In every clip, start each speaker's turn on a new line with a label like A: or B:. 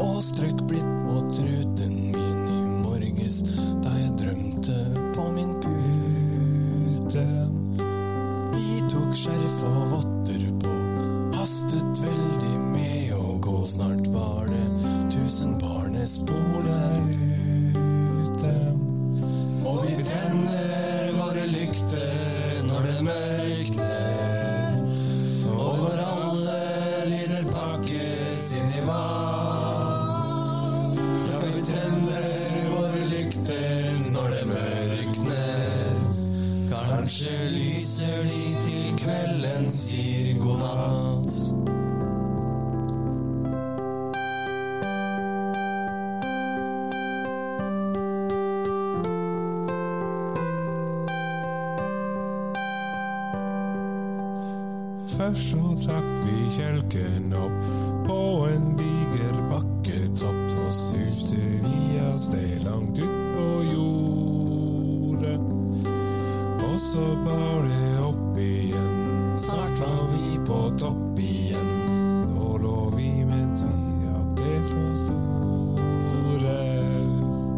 A: og strøk blitt mot ruten min i morges da jeg drømte på min pute. Vi tok skjerf og votter på, hastet veldig med å gå. Snart var det tusen barnespor der ute. Og vi tenner våre lykter når det mørkner. Og når alle lyder pakkes inn i vann. Ja, vi tenner våre lykter når det mørkner. Kanskje lyser de til kvelden sier god natt.
B: Først så trakk vi kjelken opp på en diger bakketopp. Så suste vi av sted langt ut på jordet. Og så bar det opp igjen. Snart var vi på topp igjen. Så lå vi mens vi av det så store.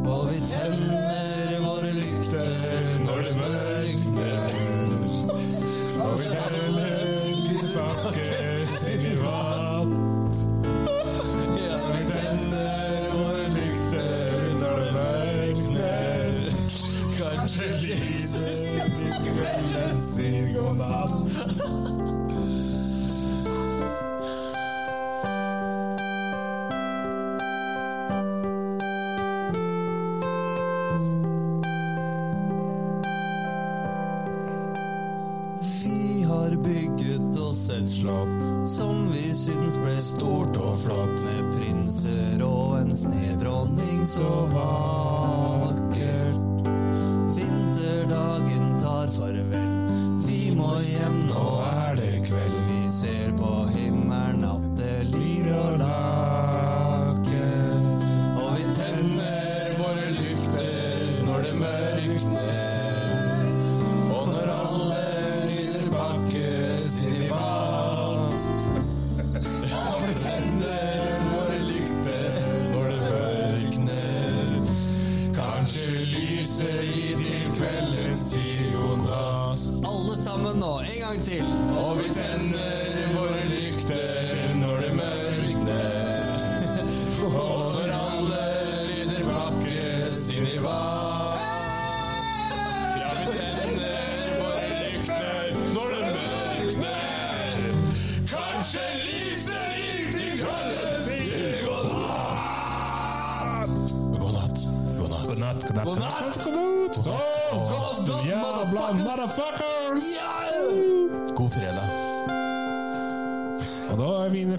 A: Og vi tenner våre lykter når det mørkner.
B: Og vi heller litt bakkes inn i vann.
A: Ja, vi tenner våre lykter når det mørkner. Kanskje lyser i kvelden sier god natt. Vi har bygget oss et slott som vi syns ble stort og flott, med prinser og en snedronning så vakkert. Vinterdagen tar farvel, vi må hjem, nå er det kveld. Vi ser på himmelen at det lir og laker, og vi tenner våre lykter når det mørkner. Og når alle lyder bakkes inn i mat Og vi tenner våre lykter når det mørkner Kanskje lyser de til kvelden sier god natt Alle sammen nå, en gang til Og vi tenner våre lykter når det mørkner Og når alle lyder bakkes inn i mat ja, vi tenner våre lykter når det mørkner. Kanskje lyser ut i kvelden. God natt. God natt. God natt.
B: God natt, god natt,
A: God natt. Sov godt, godt, motherfuckers.
B: Oh, motherfuckers!
A: Ja! God fredag.
B: Og da er vi inne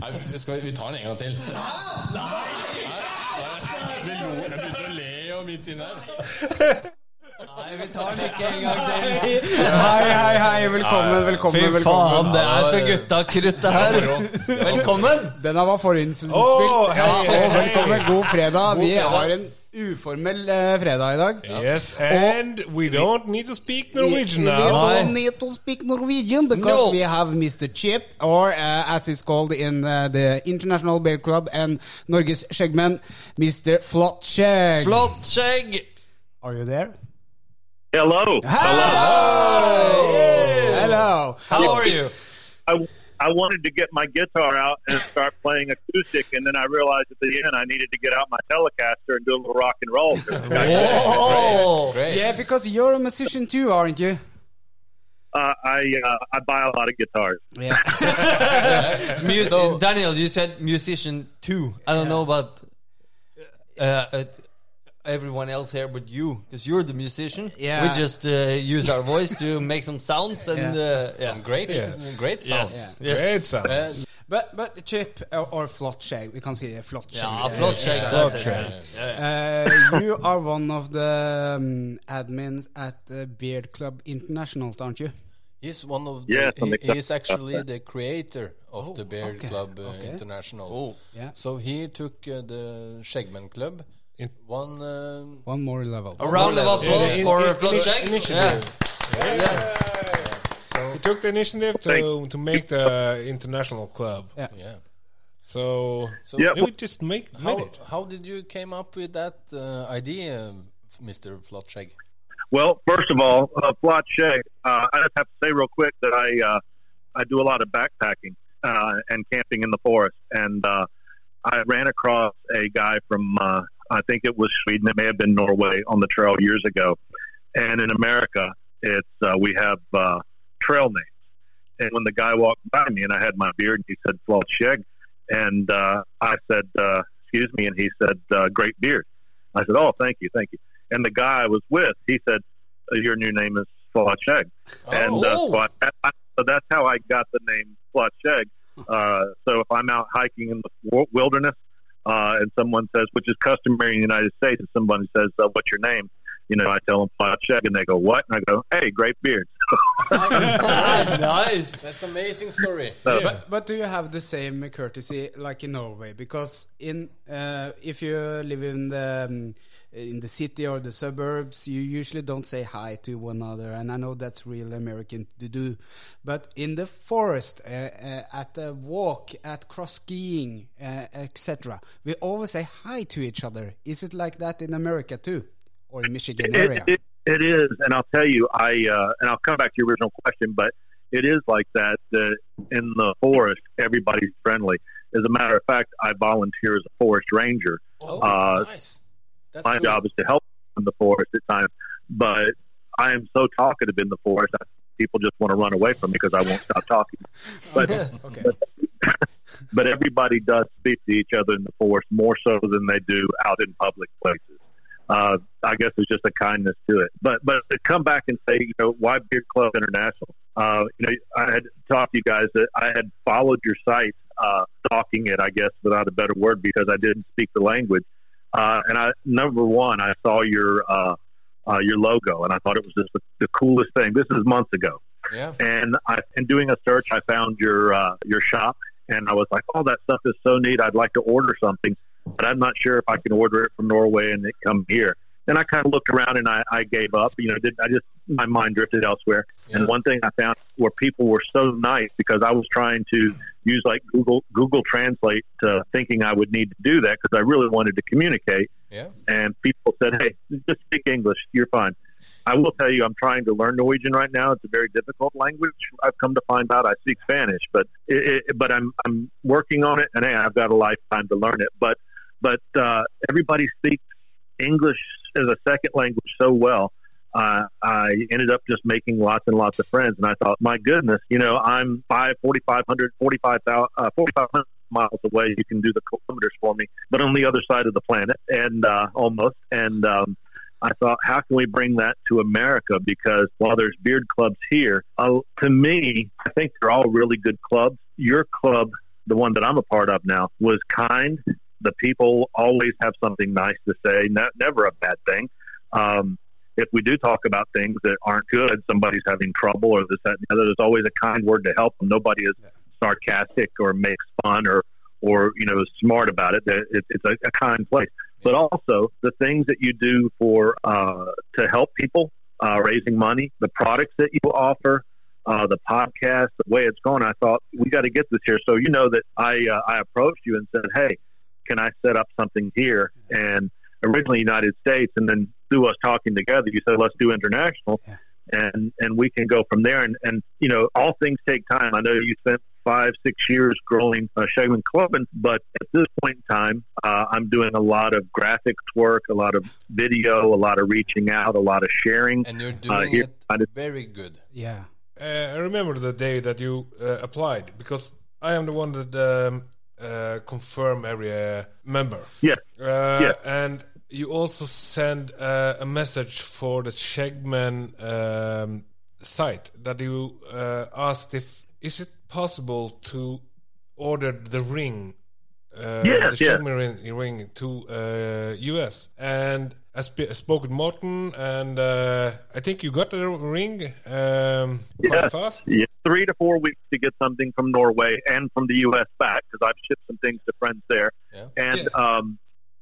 C: Nei, vi skal, vi tar den en gang til. Nei! Vi lo, jeg begynte å le jo midt inne her.
A: Nei, vi tar den ikke en gang til.
D: Hei, hei, hei. Velkommen, velkommen.
A: Fy faen, det er så guttakrut, det her. Velkommen!
D: Den her var forhåndsspilt.
B: Åh, hei,
D: ja,
B: hei,
D: og
B: hei.
D: velkommen. God fredag. Vi
A: fredag.
D: har en uformell eh, fredag i dag.
B: Yes, and we don't need to speak Norwegian
D: We- we
B: now.
D: don't need to speak Norwegian because
A: No.
D: we have Mr. Chip, or uh, as he's called in uh, the International Bear Club and Norges Skjeggmenn, Mr. Flottskjegg.
A: Flott skjegg!
D: Are you there?
E: Hello.
D: Hello.
A: How are you?
E: I, I wanted to get my guitar out and start playing acoustic, and then I realized at the end I needed to get out my Telecaster and do a little rock and roll.
A: Wow.
D: Yeah, because you're a musician too, aren't you?
E: Uh, I uh, I buy a lot of guitars.
D: Yeah.
A: Mu- Daniel, you said musician too. I don't know about. Uh, uh,
F: everyone else here but you because you're the musician.
D: Yeah.
F: we just uh, use our voice to make some sounds and
D: Yeah.
F: uh, yeah.
C: Great.
B: Yes.
C: Great sound.
F: Yes.
B: Great
F: yes.
B: sound.
A: Uh,
C: Eh,
D: But, but Chip, or, or Flott Shag, we can say Flott Shag.
F: Yeah, flott shake, flott shake.
D: Uh, you are one of the um, admins at uh, Beard Club International, aren't you?
A: He's one of the,
E: Yes, I'm
A: he,
E: excited
A: he is actually the creator of the Bear
D: okay,
A: Club uh,
D: okay.
A: International.
D: Yeah.
A: So he took uh, the Skjeggmen Club
B: In-
A: one um,
D: One more level.
F: A round of applause for flott shake. Yeah.
B: Initiative.
F: Yes.
B: He took the initiative to, to make the international club.
D: Yeah.
A: yeah.
B: So, so
E: Yeah.
B: we just make, made
A: How,
B: it.
A: how did you came up with that uh, idea, f- Mr. Flotskjegg?
E: Well, first of all, uh, Flot Shag, uh, I just have to say real quick that I uh, I do a lot of backpacking uh, and camping in the forest, and uh, I ran across a guy from uh, I think it was Sweden, it may have been Norway, on the trail years ago. And in America, it's uh, we have uh, trail names. And when the guy walked by me, and I had my beard, and he said Flot Shag, and uh, I said uh, excuse me, and he said uh, great beard. I said, oh, thank you, thank you. And the guy I was with, he said, uh, your new name is Flotcheg. and uh, so, I, I, so that's how I got the name Flotcheg. Uh, so if I'm out hiking in the wa- wilderness uh, and someone says, which is customary in the United States, and somebody says, uh, what's your name? You know, I tell them Flotcheg, and they go, what? And I go, hey, great beard.
F: nice.
A: That's an amazing story.
E: So,
D: But, but do you have the same courtesy like in Norway? Because in uh, if you live in the um, in the city or the suburbs, you usually don't say hi to one another, and I know that's real American to do. But in the forest, uh, uh, at a walk, at cross skiing, uh, etc., we always say hi to each other. Is it like that in America too, or in Michigan
E: it,
D: area?
E: it, it is, and I'll tell you, I uh, and I'll come back to your original question, but it is like that. That in the forest, everybody's friendly. As a matter of fact, I volunteer as a forest ranger.
A: Oh,
E: Uh,
A: nice. That's
E: My
A: cool.
E: job is to help in the forest at times, but I am so talkative in the forest. I, people just want to run away from me because I won't stop talking. But
D: okay.
E: but everybody does speak to each other in the forest more so than they do out in public places. Uh, I guess there's just a kindness to it. But but to come back and say, you know, why Beard Club International? Uh, you know, I had talked to you guys that I had followed your site, uh, stalking it, I guess, without a better word, because I didn't speak the language. Uh, and I number one, I saw your uh, uh, your logo, and I thought it was just the, the coolest thing. This is months ago
A: Yeah.
E: and I, in doing a search, I found your uh, your shop, and I was like, "Oh, that stuff is so neat! I'd like to order something, but I'm not sure if I can order it from Norway and it come here." Then I kind of looked around and I, I gave up. You know, did I just my mind drifted elsewhere?
A: Yeah.
E: And one thing I found where people were so nice because I was trying to use like Google Google Translate, uh, thinking I would need to do that because I really wanted to communicate
A: Yeah.
E: and people said, "Hey, just speak English. You're fine." I will tell you, I'm trying to learn Norwegian right now. It's a very difficult language. I've come to find out I speak Spanish, but it, it, but I'm I'm working on it, and hey, I've got a lifetime to learn it. But but uh, everybody speaks English as a second language so well. Uh, I ended up just making lots and lots of friends, and I thought, my goodness, you know, I'm five, 4,500, 45,000, uh, 4,500 miles away. You can do the kilometers for me, but on the other side of the planet, and uh, almost. And um, I thought, how can we bring that to America? Because while there's beard clubs here, uh, to me, I think they're all really good clubs. Your club, the one that I'm a part of now, was kind. The people always have something nice to say, ne- never a bad thing. Um, if we do talk about things that aren't good, somebody's having trouble or this, that, and the other, there's always a kind word to help them. Nobody is sarcastic or makes fun or, or you know, is smart about it. That It, it's a, a kind place. But also the things that you do for uh, to help people uh, raising money, the products that you offer, uh, the podcast, the way it's going. I thought we got to get this here. So you know that I uh, I approached you and said, hey, can I set up something here? And originally United States, and then through us talking together, you said let's do international,
D: Yeah.
E: and and we can go from there. And and you know all things take time. I know you spent five six years growing uh, Shagman Club, and, but at this point in time, uh, I'm doing a lot of graphics work, a lot of video, a lot of reaching out, a lot of sharing.
A: And you're
E: Uh,
A: doing
E: here- I
A: it
E: did-
A: very good.
D: Yeah.
B: Uh, I remember the day that you uh, applied because I am the one that um, uh, confirm every uh, member.
E: Yes.
B: Uh,
E: Yes.
B: And you also send uh, a message for the Shegman um, site that you uh, asked if is it possible to order the ring. Uh,
E: Yes,
B: the
E: yes.
B: Shegman ring, ring to uh, US and I sp- spoke with Morten and uh, I think you got the ring um, quite
E: Yes.
B: fast.
E: Yeah, three to four weeks to get something from Norway and from the U.S. back because I've shipped some things to friends there.
A: Yeah.
E: And um,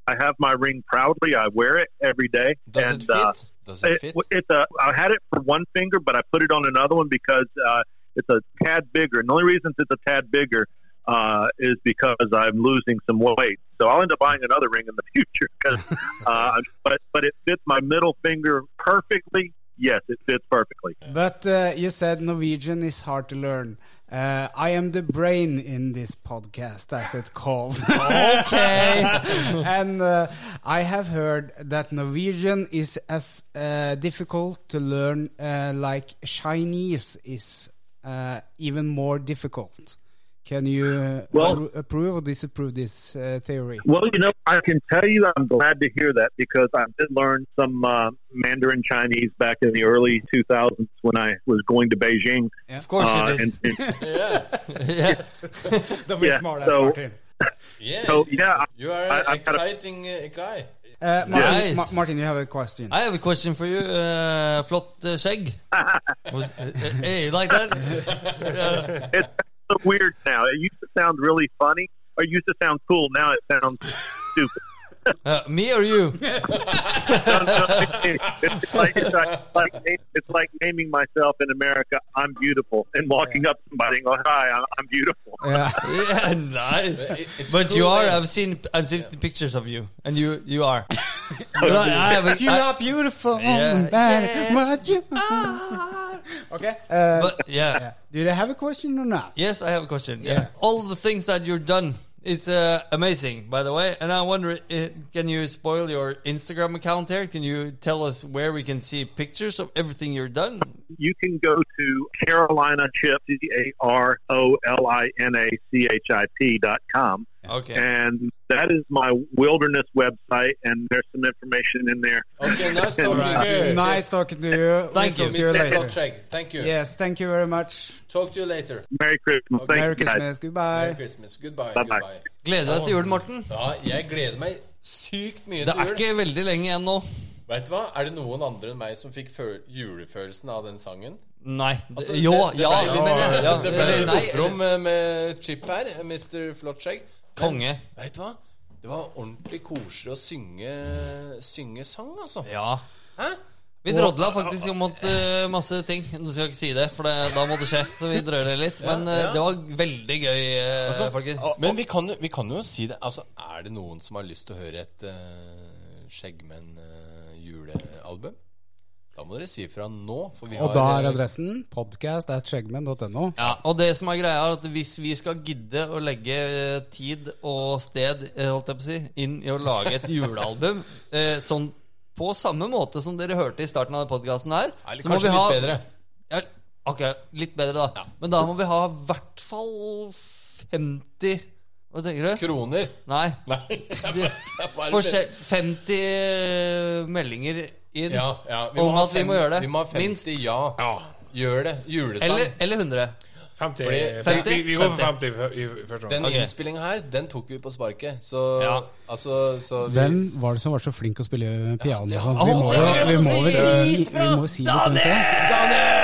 E: I have my ring proudly. I wear it every day.
A: Does
E: and
A: it
E: uh,
A: fit? Does it fit?
E: it's a, I had it for one finger, but I put it on another one because uh, it's a tad bigger. And the only reason it's a tad bigger uh, is because I'm losing some weight. So I'll end up buying another ring in the future. 'cause, uh, but but it fits my middle finger perfectly. Yes, it fits perfectly.
D: But uh, you said Norwegian is hard to learn. Uh, I am the brain in this podcast, as it's called.
F: Okay.
D: and uh, I have heard that Norwegian is as uh, difficult to learn uh, like Chinese is uh, even more difficult. Can you uh,
E: Well-
D: appro- approve or disapprove this uh, theory?
E: Well, you know, I can tell you I'm glad to hear that because I did learn some uh, Mandarin Chinese back in the early 2000s when I was going to Beijing.
F: Of course
E: uh,
F: you did.
E: and- and
F: yeah.
D: Don't be
E: yeah,
D: smart,
E: so-
D: Martin.
A: Yeah.
E: so, yeah,
A: you are
E: I-
A: an
E: I kinda-
A: exciting uh, guy.
D: Uh, Martin,
F: Nice.
D: Ma- Martin, you have a question.
F: I have a question for you. Uh, flott uh, skjegg. Was, uh, uh, hey, you like that? Uh,
E: it's so weird now. It used to sound really funny, or it used to sound cool. Now it sounds stupid.
F: uh, me or you?
E: it's, like, it's, like, it's like it's like naming myself in America, I'm beautiful, and walking up to somebody and going, "Hi, I'm, I'm beautiful."
D: Yeah.
F: Yeah, nice.
A: But it- it's
F: but
A: cool
F: you are.
A: name.
F: I've seen I've seen the pictures of you, and you you are. But I, I have a-
D: You
F: I-
D: are beautiful.
F: Yeah.
D: woman,
F: Yes. Ah.
D: what you- Okay. Uh,
F: but yeah.
D: yeah. Do they have a question or not?
F: Yes, I have a question. Yeah.
D: Yeah.
F: All the things that you've done is uh, amazing, by the way. And I wonder, uh, can you spoil your Instagram account here? Can you tell us where we can see pictures of everything you've done?
E: You can go to Carolina Chip, C A R O L I N A C H I P dot com,
F: Okay.
E: and that is my wilderness website, and there's some information in there.
D: Oh,
A: Okay, nice talking
E: Right.
A: to you.
D: Nice talking to you.
F: Thank you,
D: We'll talk to
A: Mr.
D: later.
A: Flotcheck. Thank you.
D: Yes, thank you very much.
A: Talk to you later.
E: Merry Christmas! Thank
D: Merry
E: you, guys.
D: Christmas.
A: Merry
D: Goodbye.
A: Christmas. Goodbye.
E: Bye-bye.
A: goodbye.
F: Gleder deg til jul, Morten.
A: Ja, jeg gleder meg sykt mye
F: Det
A: til
F: er
A: jul.
F: ikke veldig lenge igjen nå.
A: Vet du hva? Er det noen andre enn meg som fikk føl- julefølelsen av den sangen?
F: Nei. Det,
A: Altså,
F: jo,
A: det- det
F: ja,
A: ble-
F: vi mener ja,
A: Det ble litt
F: eller nei,
A: opprom eh, med Chip her, eh, Mr. Flotskjegg.
F: Konge.
A: Veit du hva? Det var ordentlig koselig å synge, synge sang, altså.
F: Ja.
A: Hæ?
F: Vi drodla faktisk om at, eh, masse ting. Du skal ikke si det, for det, da må det skje. Så vi drøler litt. Men eh,
A: ja. Altså, ah,
F: det var veldig gøy, eh, folkens.
A: Men vi kan, jo- vi kan jo si det. Altså, er det noen som har lyst til å høre et uh, Skjeggmenn-julealbum? da må dere si ifra nå, for vi har
D: Og da er
A: eh,
D: adressen podcast.skjeggmenn.no.
F: Ja, og det som er greia er at Hvis vi skal gidde å legge eh, tid og sted eh, holdt jeg på å si, inn i å lage et julealbum eh, sånn på samme måte som dere hørte i starten av podkasten her
A: Eller
F: så må
A: kanskje
F: vi ha-
A: litt bedre.
F: Ja, ok, litt bedre, da. Men da må vi ha i hvert fall 50 Hva tenker du?
A: Kroner.
F: Nei.
A: Nei. det er bare- det er bare-
F: Forskjell, 50 eh, meldinger inn.
A: Ja, ja.
F: Om at vi må gjøre det.
A: Vi må ha 50
F: Minst.
A: ja. Gjør det. Julesang.
F: Eller, eller 100.
B: 50,
A: Fordi-
B: Vi, vi går for 50 i, i første
A: den
B: omgang.
F: Ok.
A: innspillingen her, den tok vi på sparket. Så
F: Ja.
A: altså så vi,
D: Hvem var det som var så flink å spille piano? sånn? Vi
F: Å,
D: må
F: det
D: jo
F: var
D: vi
F: så
D: må vel si,
F: sykt bra!
D: vi må si litt om det.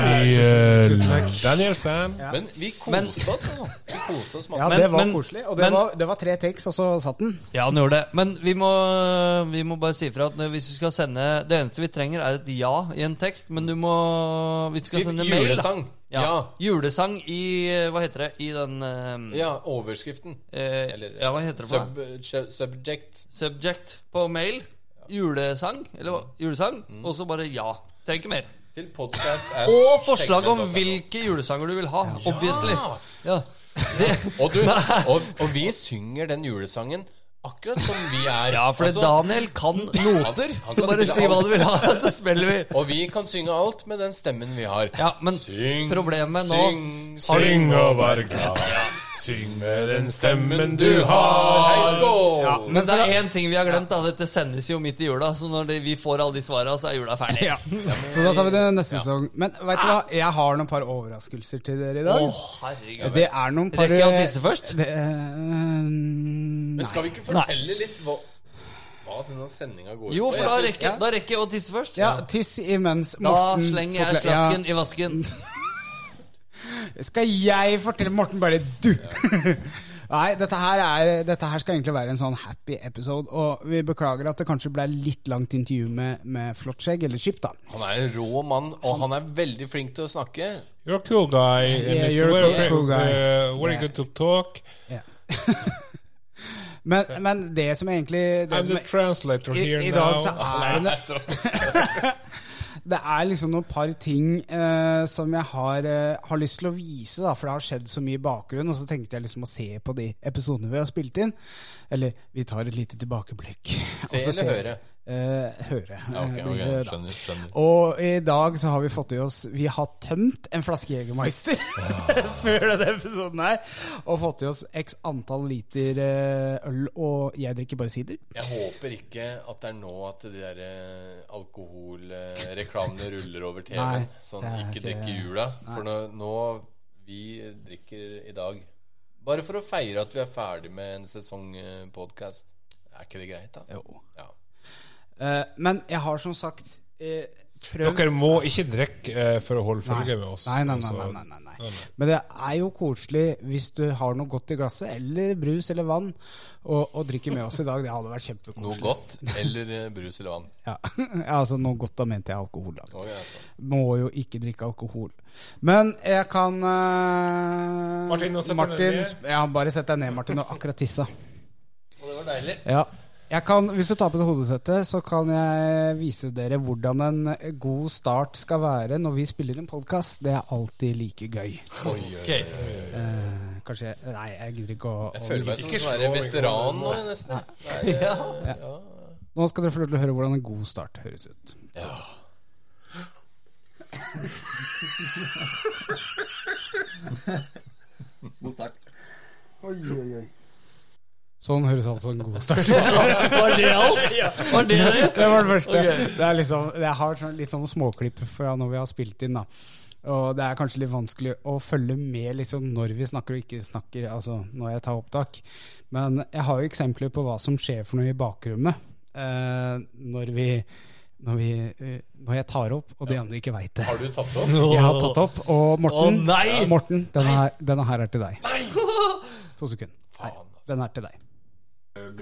B: Daniel, Danielsen.
A: Men vi koste
F: Men-
A: oss, altså. Vi koste oss masse.
D: Ja,
F: Men-
D: det var
F: men-
D: koselig. Og det,
F: men-
D: var, det var tre takes, og så satt den.
F: Ja, han gjorde det. Men vi må, vi må bare si ifra at når- hvis du skal sende Det eneste vi trenger, er et ja i en tekst, men du må Hvis du skal
A: Vi-
F: sende mail, da.
A: Julesang. Ja.
F: Ja.
A: ja.
F: Julesang i eh, Hva heter det? I den eh,
A: overskriften.
F: eh,
A: Eller
F: Ja, hva heter det? for noe?
A: sub, sub- subject.
F: Subject på mail. Julesang. Eller hva? Julesang.
A: Mm.
F: Og så bare ja. Trenger ikke mer.
A: Til podcast er
F: Og forslag om
A: altså.
F: hvilke julesanger du vil ha. Obviously. Ja.
A: og, du, og, og vi synger den julesangen akkurat som vi er.
F: ja, for
A: Altså,
F: Daniel kan noter,
A: han
F: så
A: kan
F: bare
A: spille
F: si hva
A: alt.
F: du vil ha, så spiller vi.
A: Og vi kan synge alt med den stemmen vi har.
F: Ja, men
A: Syng,
F: problemet nå
A: syng,
F: Har du-
B: Syng og vær glad. Syng med den stemmen du
A: Du har
B: har.
A: Hei, skål!
F: Men det er én ting vi har glemt. da Dette sendes jo midt i jula. Så når det, vi får alle de svara, så er jula ferdig.
D: Så da tar vi det neste sesong. Men vet du hva, jeg har noen par overraskelser til dere
F: Å,
D: i dag.
F: herregud.
D: det er noen par
F: Rekker jeg å tisse først?
D: Det, eh,
A: Men
D: nei.
A: skal vi ikke fortelle litt hva, hva denne sendinga går
F: Jo, for da
A: Jeg
F: rekker, da rekker jeg å tisse først.
D: Ja, tiss imens
F: Da
D: Morten
F: slenger jeg
D: forklar-
F: slasken i vasken.
D: Ja. Skal jeg fortelle Morten bare du? Nei, dette her, er, dette her skal egentlig være en sånn happy episode. Og vi beklager at det kanskje ble litt langt intervju med, med Flottskjegg, eller Chip, da.
A: synes- Han er en rå mann, og han er veldig flink til å snakke.
B: You're a cool guy. and
D: Yeah,
B: it's
D: you're a
B: very,
D: cool- cool guy.
B: uh, very
D: Yeah.
B: good to talk.
D: Ja. men, men det som egentlig det
B: I'm
D: som
B: the translator
D: I,
B: here
D: I
B: now.
D: dag så er det Det er liksom noen par ting eh, som jeg har, eh, har lyst til å vise, da, for det har skjedd så mye i bakgrunnen. Og så tenkte jeg liksom å se på de episodene vi har spilt inn. Eller vi tar et lite tilbakeblikk.
A: Se
D: og så
A: eller
D: ses.
A: høre?
D: Eh, høre.
A: Ja, ok,
D: Eh,
A: ok,
D: blir det da.
A: skjønner, skjønner.
D: Og i dag så har vi fått i oss Vi har tømt en flaske Jegermeister før denne episoden her. Og fått i oss x antall liter eh, øl, og jeg drikker bare sider.
A: Jeg håper ikke at det er nå at de der eh, alkoholreklamene ruller over TV-en.
D: Nei,
A: Sånn
D: det er
A: ikke
D: ikke-
A: drikke i jula. For nå, nå Vi drikker i dag. Bare for å feire at vi er ferdig med en sesongpodkast. Er ikke det greit, da?
D: Jo.
A: Ja.
D: Eh, men jeg har som sagt eh, prøvd
B: Dere må ikke drikke eh, for å holde følge med oss.
D: Nei, nei, nei,
B: altså.
D: nei, nei, nei, nei. Men det er jo koselig hvis du har noe godt i glasset, eller brus eller vann, og, og drikker med oss i dag. Det hadde vært
A: Noe
D: kjempekoselig.
A: godt eller eh, brus eller vann.
D: Ja. ja, altså noe godt, da mente jeg alkohol. da.
A: Nå er jeg sånn.
D: Må jo ikke drikke alkohol. Men jeg kan eh,
B: Martin, nå setter du deg
D: Martin,
B: ned.
D: sp- Ja, bare sett deg ned, Martin. Og akkurat tissa.
F: Og det var deilig.
D: Ja. Jeg kan, hvis du tar på deg hodesettet, så kan jeg vise dere hvordan en god start skal være når vi spiller en podkast. Det er alltid like gøy.
A: Oi, oi,
F: Ok.
D: Eh, kanskje Nei, jeg gidder ikke å,
A: Jeg
D: å
A: føler meg som en sånn veteran nå, jeg nesten. Det er, eh, ja.
D: Nå skal dere få lov til å høre hvordan en god start høres ut.
F: God start.
D: Sånn høres altså en god start.
F: Var det alt? Var det det?
D: Det var det første. Det er liksom, jeg har sånn, litt sånn småklipp fra når vi har spilt inn, da. Og det er kanskje litt vanskelig å følge med liksom, når vi snakker og ikke snakker, altså når jeg tar opptak. Men jeg har jo eksempler på hva som skjer for noe i bakrommet eh, når vi når, vi, eh, når jeg tar opp, og de andre ikke veit det.
A: Har du tatt opp?
D: Jeg har tatt opp, og Morten,
F: Å, nei!
D: Morten denne, her, denne her er til deg. To sekunder. Her,
A: Faen, altså.
D: den er til deg.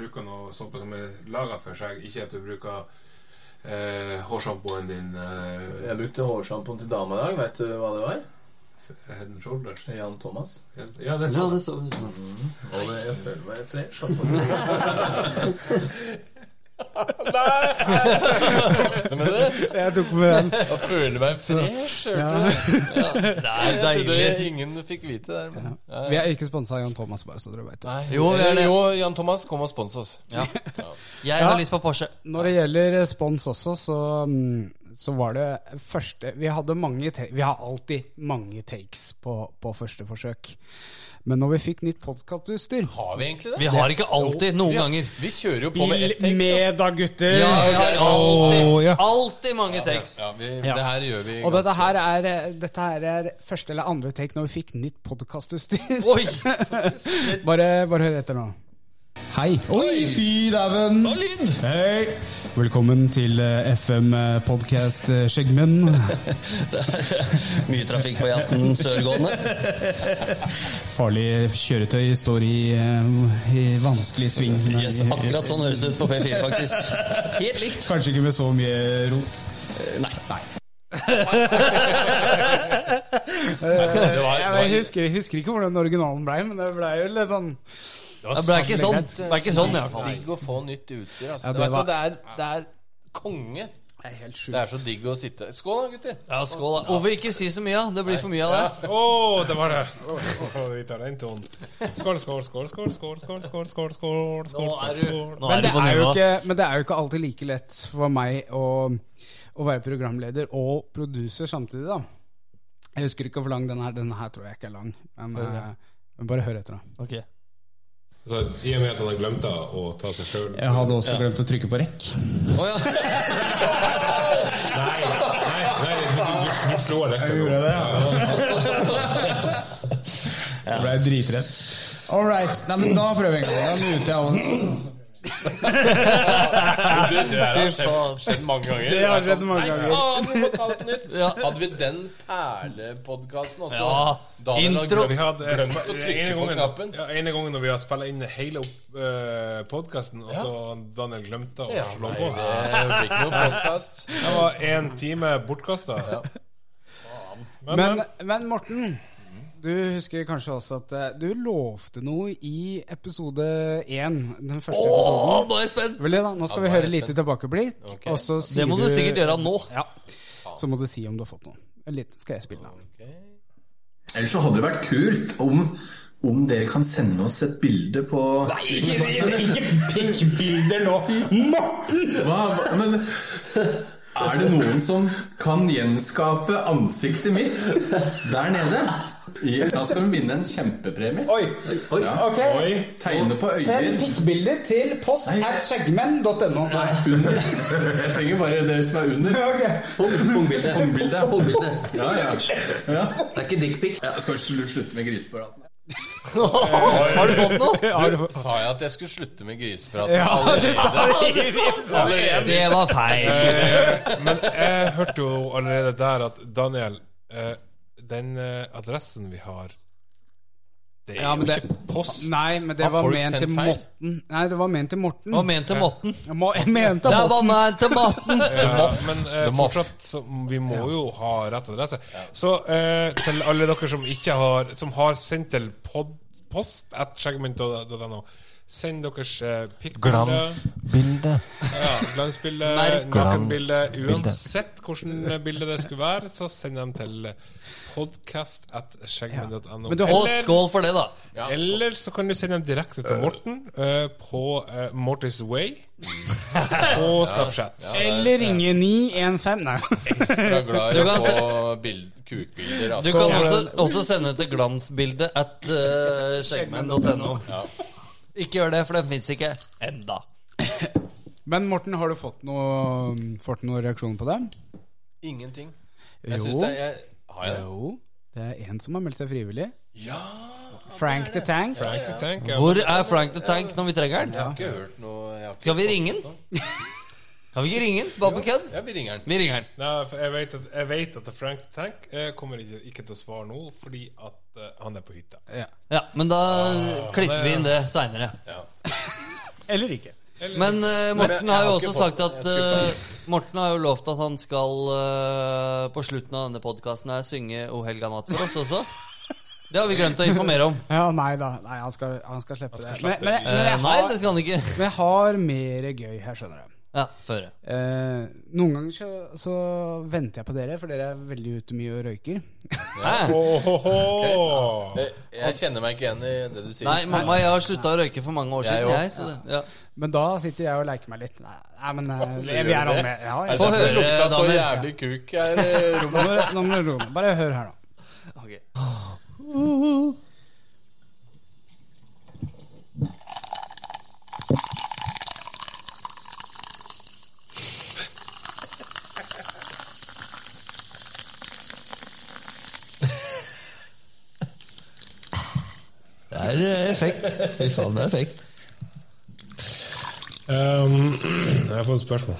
B: bruker noe såpe som er laga for seg, ikke at du bruker eh, hårsampoen din eh,
A: Jeg brukte hårsampoen til dama i dag. Veit du hva det var?
B: head and shoulders.
A: Jan Thomas.
B: Ja, det er
F: Ja,
B: sånn.
F: det så
A: Og det, jeg føler meg fresh. altså.
D: Jeg tok med den.
A: Jeg føler meg fresh.
D: Ja.
F: Det er
A: Jeg trodde
F: deilig.
A: ingen fikk vite det. Men. Ja.
D: Vi er ikke sponsa av Jan Thomas, bare så dere vet det.
A: Nei.
F: Jo, vi er det.
A: jo, Jan Thomas, kom og spons oss.
F: Ja.
A: Ja.
F: Jeg har lyst på Porsche.
D: Når det gjelder spons også, så, mm, så var det første Vi hadde mange ta- Vi har alltid mange takes på, på første forsøk. Men når vi fikk nytt podkastutstyr
A: Har vi egentlig det?
F: Vi har ikke alltid. Noen ganger.
A: Vi kjører jo på med ett
D: Spill
A: take.
D: med da, gutter!
F: Ja, vi har
B: Å,
F: alltid,
B: ja.
F: alltid mange takes.
A: Ja, vi,
D: Ja.
A: Det her gjør vi
D: Og
A: ganske-
D: dette her, er, dette her er første eller andre take når vi fikk nytt podkastutstyr.
F: Oi!
D: Bare, bare hør etter nå. Hei. Oi, fy dæven! Hei. Velkommen til eh, FM-podkast eh, Skjeggmenn.
G: Mye trafikk på E18 sørgående.
D: Farlig kjøretøy står i, eh, vanskelig sving.
G: Yes, akkurat sånn høres det ut på P4, faktisk. Helt likt.
D: Kanskje ikke med så mye rot.
G: Nei.
A: det var, det var,
D: Jeg husker, jeg husker ikke hvordan originalen blei, men det blei jo litt sånn
F: Det ble ikke sånn. Det er ikke sånn, i hvert fall.
A: digg å få nytt utstyr. Altså.
D: Ja,
A: det,
D: det var-
A: det, er, det er konge.
D: Det er helt
A: Det er
D: sjukt.
A: så digg å sitte Skål, da, gutter.
F: Ja, skål, da. Ove, ikke si så mye. da. Det blir for mye av det.
B: Å, det var det! Å, vi tar den tonen. Skål, skål, skål, skål, skål, skål, skål, skål, skål, skål,
F: Nå er
B: skål,
F: du-
B: skål.
F: nå
D: Men det,
F: på
D: er jo
F: nivå.
D: ikke, men det er jo ikke alltid like lett for meg å, å være programleder og producer samtidig, da. Jeg husker ikke hvor lang den er. Den her tror jeg ikke er lang. Men eh, Men bare hør etter, da.
F: Ok.
B: Så, I og med at han har glemt da å ta seg sjøl
H: Jeg hadde også glemt å trykke på rekk.
F: Å ja.
B: Nei, nei, nei du, du, du slår rekka. nå.
H: Gjorde jeg det? Ja. Jeg ble dritredd. All right. Nei, men da prøver vi en gang. Da muter jeg alle.
C: Det der har skjedd, skjedd mange ganger.
D: Det har skjedd mange ganger.
C: Faen, vi må ta det på nytt. Hadde vi den perlepodkasten også?
F: Ja,
C: Da hadde
F: intro.
C: han glemt-
B: Vi hadde eh,
C: glemt å
B: spa-
C: trykke
B: ene
C: på
B: gangen,
C: knappen.
B: ja, ene gangen når vi har spilla inn hele uh, podkasten, og så Daniel glemte å
C: Ja,
B: slå
C: nei,
B: på.
C: det blir ikke noe podkast.
B: Det var én time bortkasta. Men,
D: Men, men Morten, du husker kanskje også at eh, du lovte noe i episode én. Den første
F: Å,
D: episoden.
F: nå er jeg spent!
D: Vel, da, nå skal
C: Ja,
D: vi
C: nå er
D: høre
C: jeg
D: lite
C: spent.
D: tilbakeblikk,
C: Ok.
D: og så sier
F: Det må du sikkert gjøre nå.
D: Ja. Så må du si om du har fått noe. Litt skal jeg spille av.
I: Ellers så hadde det vært kult om, om dere kan sende oss et bilde på Nei,
H: pikkbilder nå!
I: Hva, hva- men er det noen som kan gjenskape ansiktet mitt der nede? Ja, Da skal vi vinne en kjempepremie.
D: Oi!
I: Ja.
D: Ok.
I: Tegne på
D: Send
I: øyer.
D: pikkbilder til post at skjeggmenn.no.
I: Under. Jeg trenger bare det som er under.
J: Håndbilde.
I: Håndbilde.
J: Håndbilde.
I: Ja, ja. ja.
J: Det er ikke dickpic.
I: Jeg skal slu- slutte med grisepraten.
F: Har du fått noe?
C: Sa jeg at jeg skulle slutte med griseprat?
D: Ja, du sa det!
F: Det var feil.
B: men jeg hørte jo allerede der at Daniel eh, Den eh, adressen vi har Det er
D: Ja, men
B: jo
D: det-
B: ikke post.
D: Nei, men det
C: Har
D: var
C: folk
D: ment
C: sendt
D: til
C: feil?
D: Morten. Nei, det var ment til Morten.
F: Hva mente Morten?
D: Jeg må- jeg mente
F: Det
D: Morten.
F: var meg til Morten!
B: Ja, men eh,
C: The Moth.
B: fortsatt så, Vi må jo ha rett adresse. Så eh, til alle dere som ikke har Som har sendt til pod, post at segment.no Send deres eh, pikkbilde, ja, glansbilde,
F: Merk.
B: nakenbilde Uansett hvordan bilde det skulle være, så send dem til podcast at segment.no.
D: Men du har-
F: Og
B: Eller-
F: skål for det, da.
B: eller så kan du sende dem direkte til Morten eh, på eh, Mortis Way på Snapchat.
D: Eller ringe 915 Nei.
C: Ekstra glad i
F: Du kan
C: å få bild, kukbilder.
F: Du
C: Altså.
F: kan også, også sende til glansbildet at uh, skjeggmenn.no. Ikke gjør det, for den fins ikke enda.
D: Men Morten, har du fått noe fått noen reaksjon på det?
C: Ingenting. Jeg
D: Jo.
C: syns det jeg, Har jeg
D: Jo. Det er en som har meldt seg frivillig.
C: Ja!
D: Frank the Tank.
B: Jeg kan tenke, ja.
F: Hvor er Frank the Tank når vi trenger
C: Jeg
F: den?
C: har ikke hørt noe jeg har ikke
F: Skal vi
C: fått
F: ringe den?
C: noe.
F: Kan vi ikke ringe den? Bare på kødd?
C: Ja, vi ringer den.
F: Vi ringer den.
B: Nei, for jeg vet, at, jeg vet at Frank the Tank eh, kommer ikke, ikke til å svare nå, fordi at eh, han er på hytta.
F: Ja, men da klipper vi inn det seinere.
D: Eller ikke.
F: Men eh, Morten
C: jeg
F: har jo
C: har
F: også
C: ikke fått
F: sagt
C: den.
F: at
C: Jeg er
F: eh, Morten har jo lovt at han skal eh, på slutten av denne podkasten her synge O helga natt for oss også. Det har vi glemt å informere om.
D: Ja, nei da. Nei, han skal, han skal slippe det. Men, men, men,
F: Eh,
D: jeg
F: nei,
D: har,
F: det skal han ikke.
D: men jeg har mer gøy her, skjønner du.
F: Ja, føre.
D: Eh, noen ganger så, så venter jeg på dere, for dere er veldig ute mye og røyker.
F: Hæ?
B: Ohoho!
C: Eh, Jeg kjenner meg ikke igjen i det du sier.
F: Nei, mamma, jeg har slutta å røyke for mange år
C: Jeg
F: siden.
C: også.
F: Jeg, så det, ja.
D: Men da sitter jeg og leker meg litt. Nei, nei men eh, vi er alle med. Ja, ja.
C: Er det
F: Få
C: derfor det
F: høre,
C: lukta så
F: Daniel.
C: jævlig kuk her eh, i
D: Nå
C: rommet?
D: må dere- nå må dere roe ned. Bare hør her, da.
F: Ok.
J: Det er eh, effekt. Fy faen, det er effekt.
B: Um, jeg har fått et spørsmål.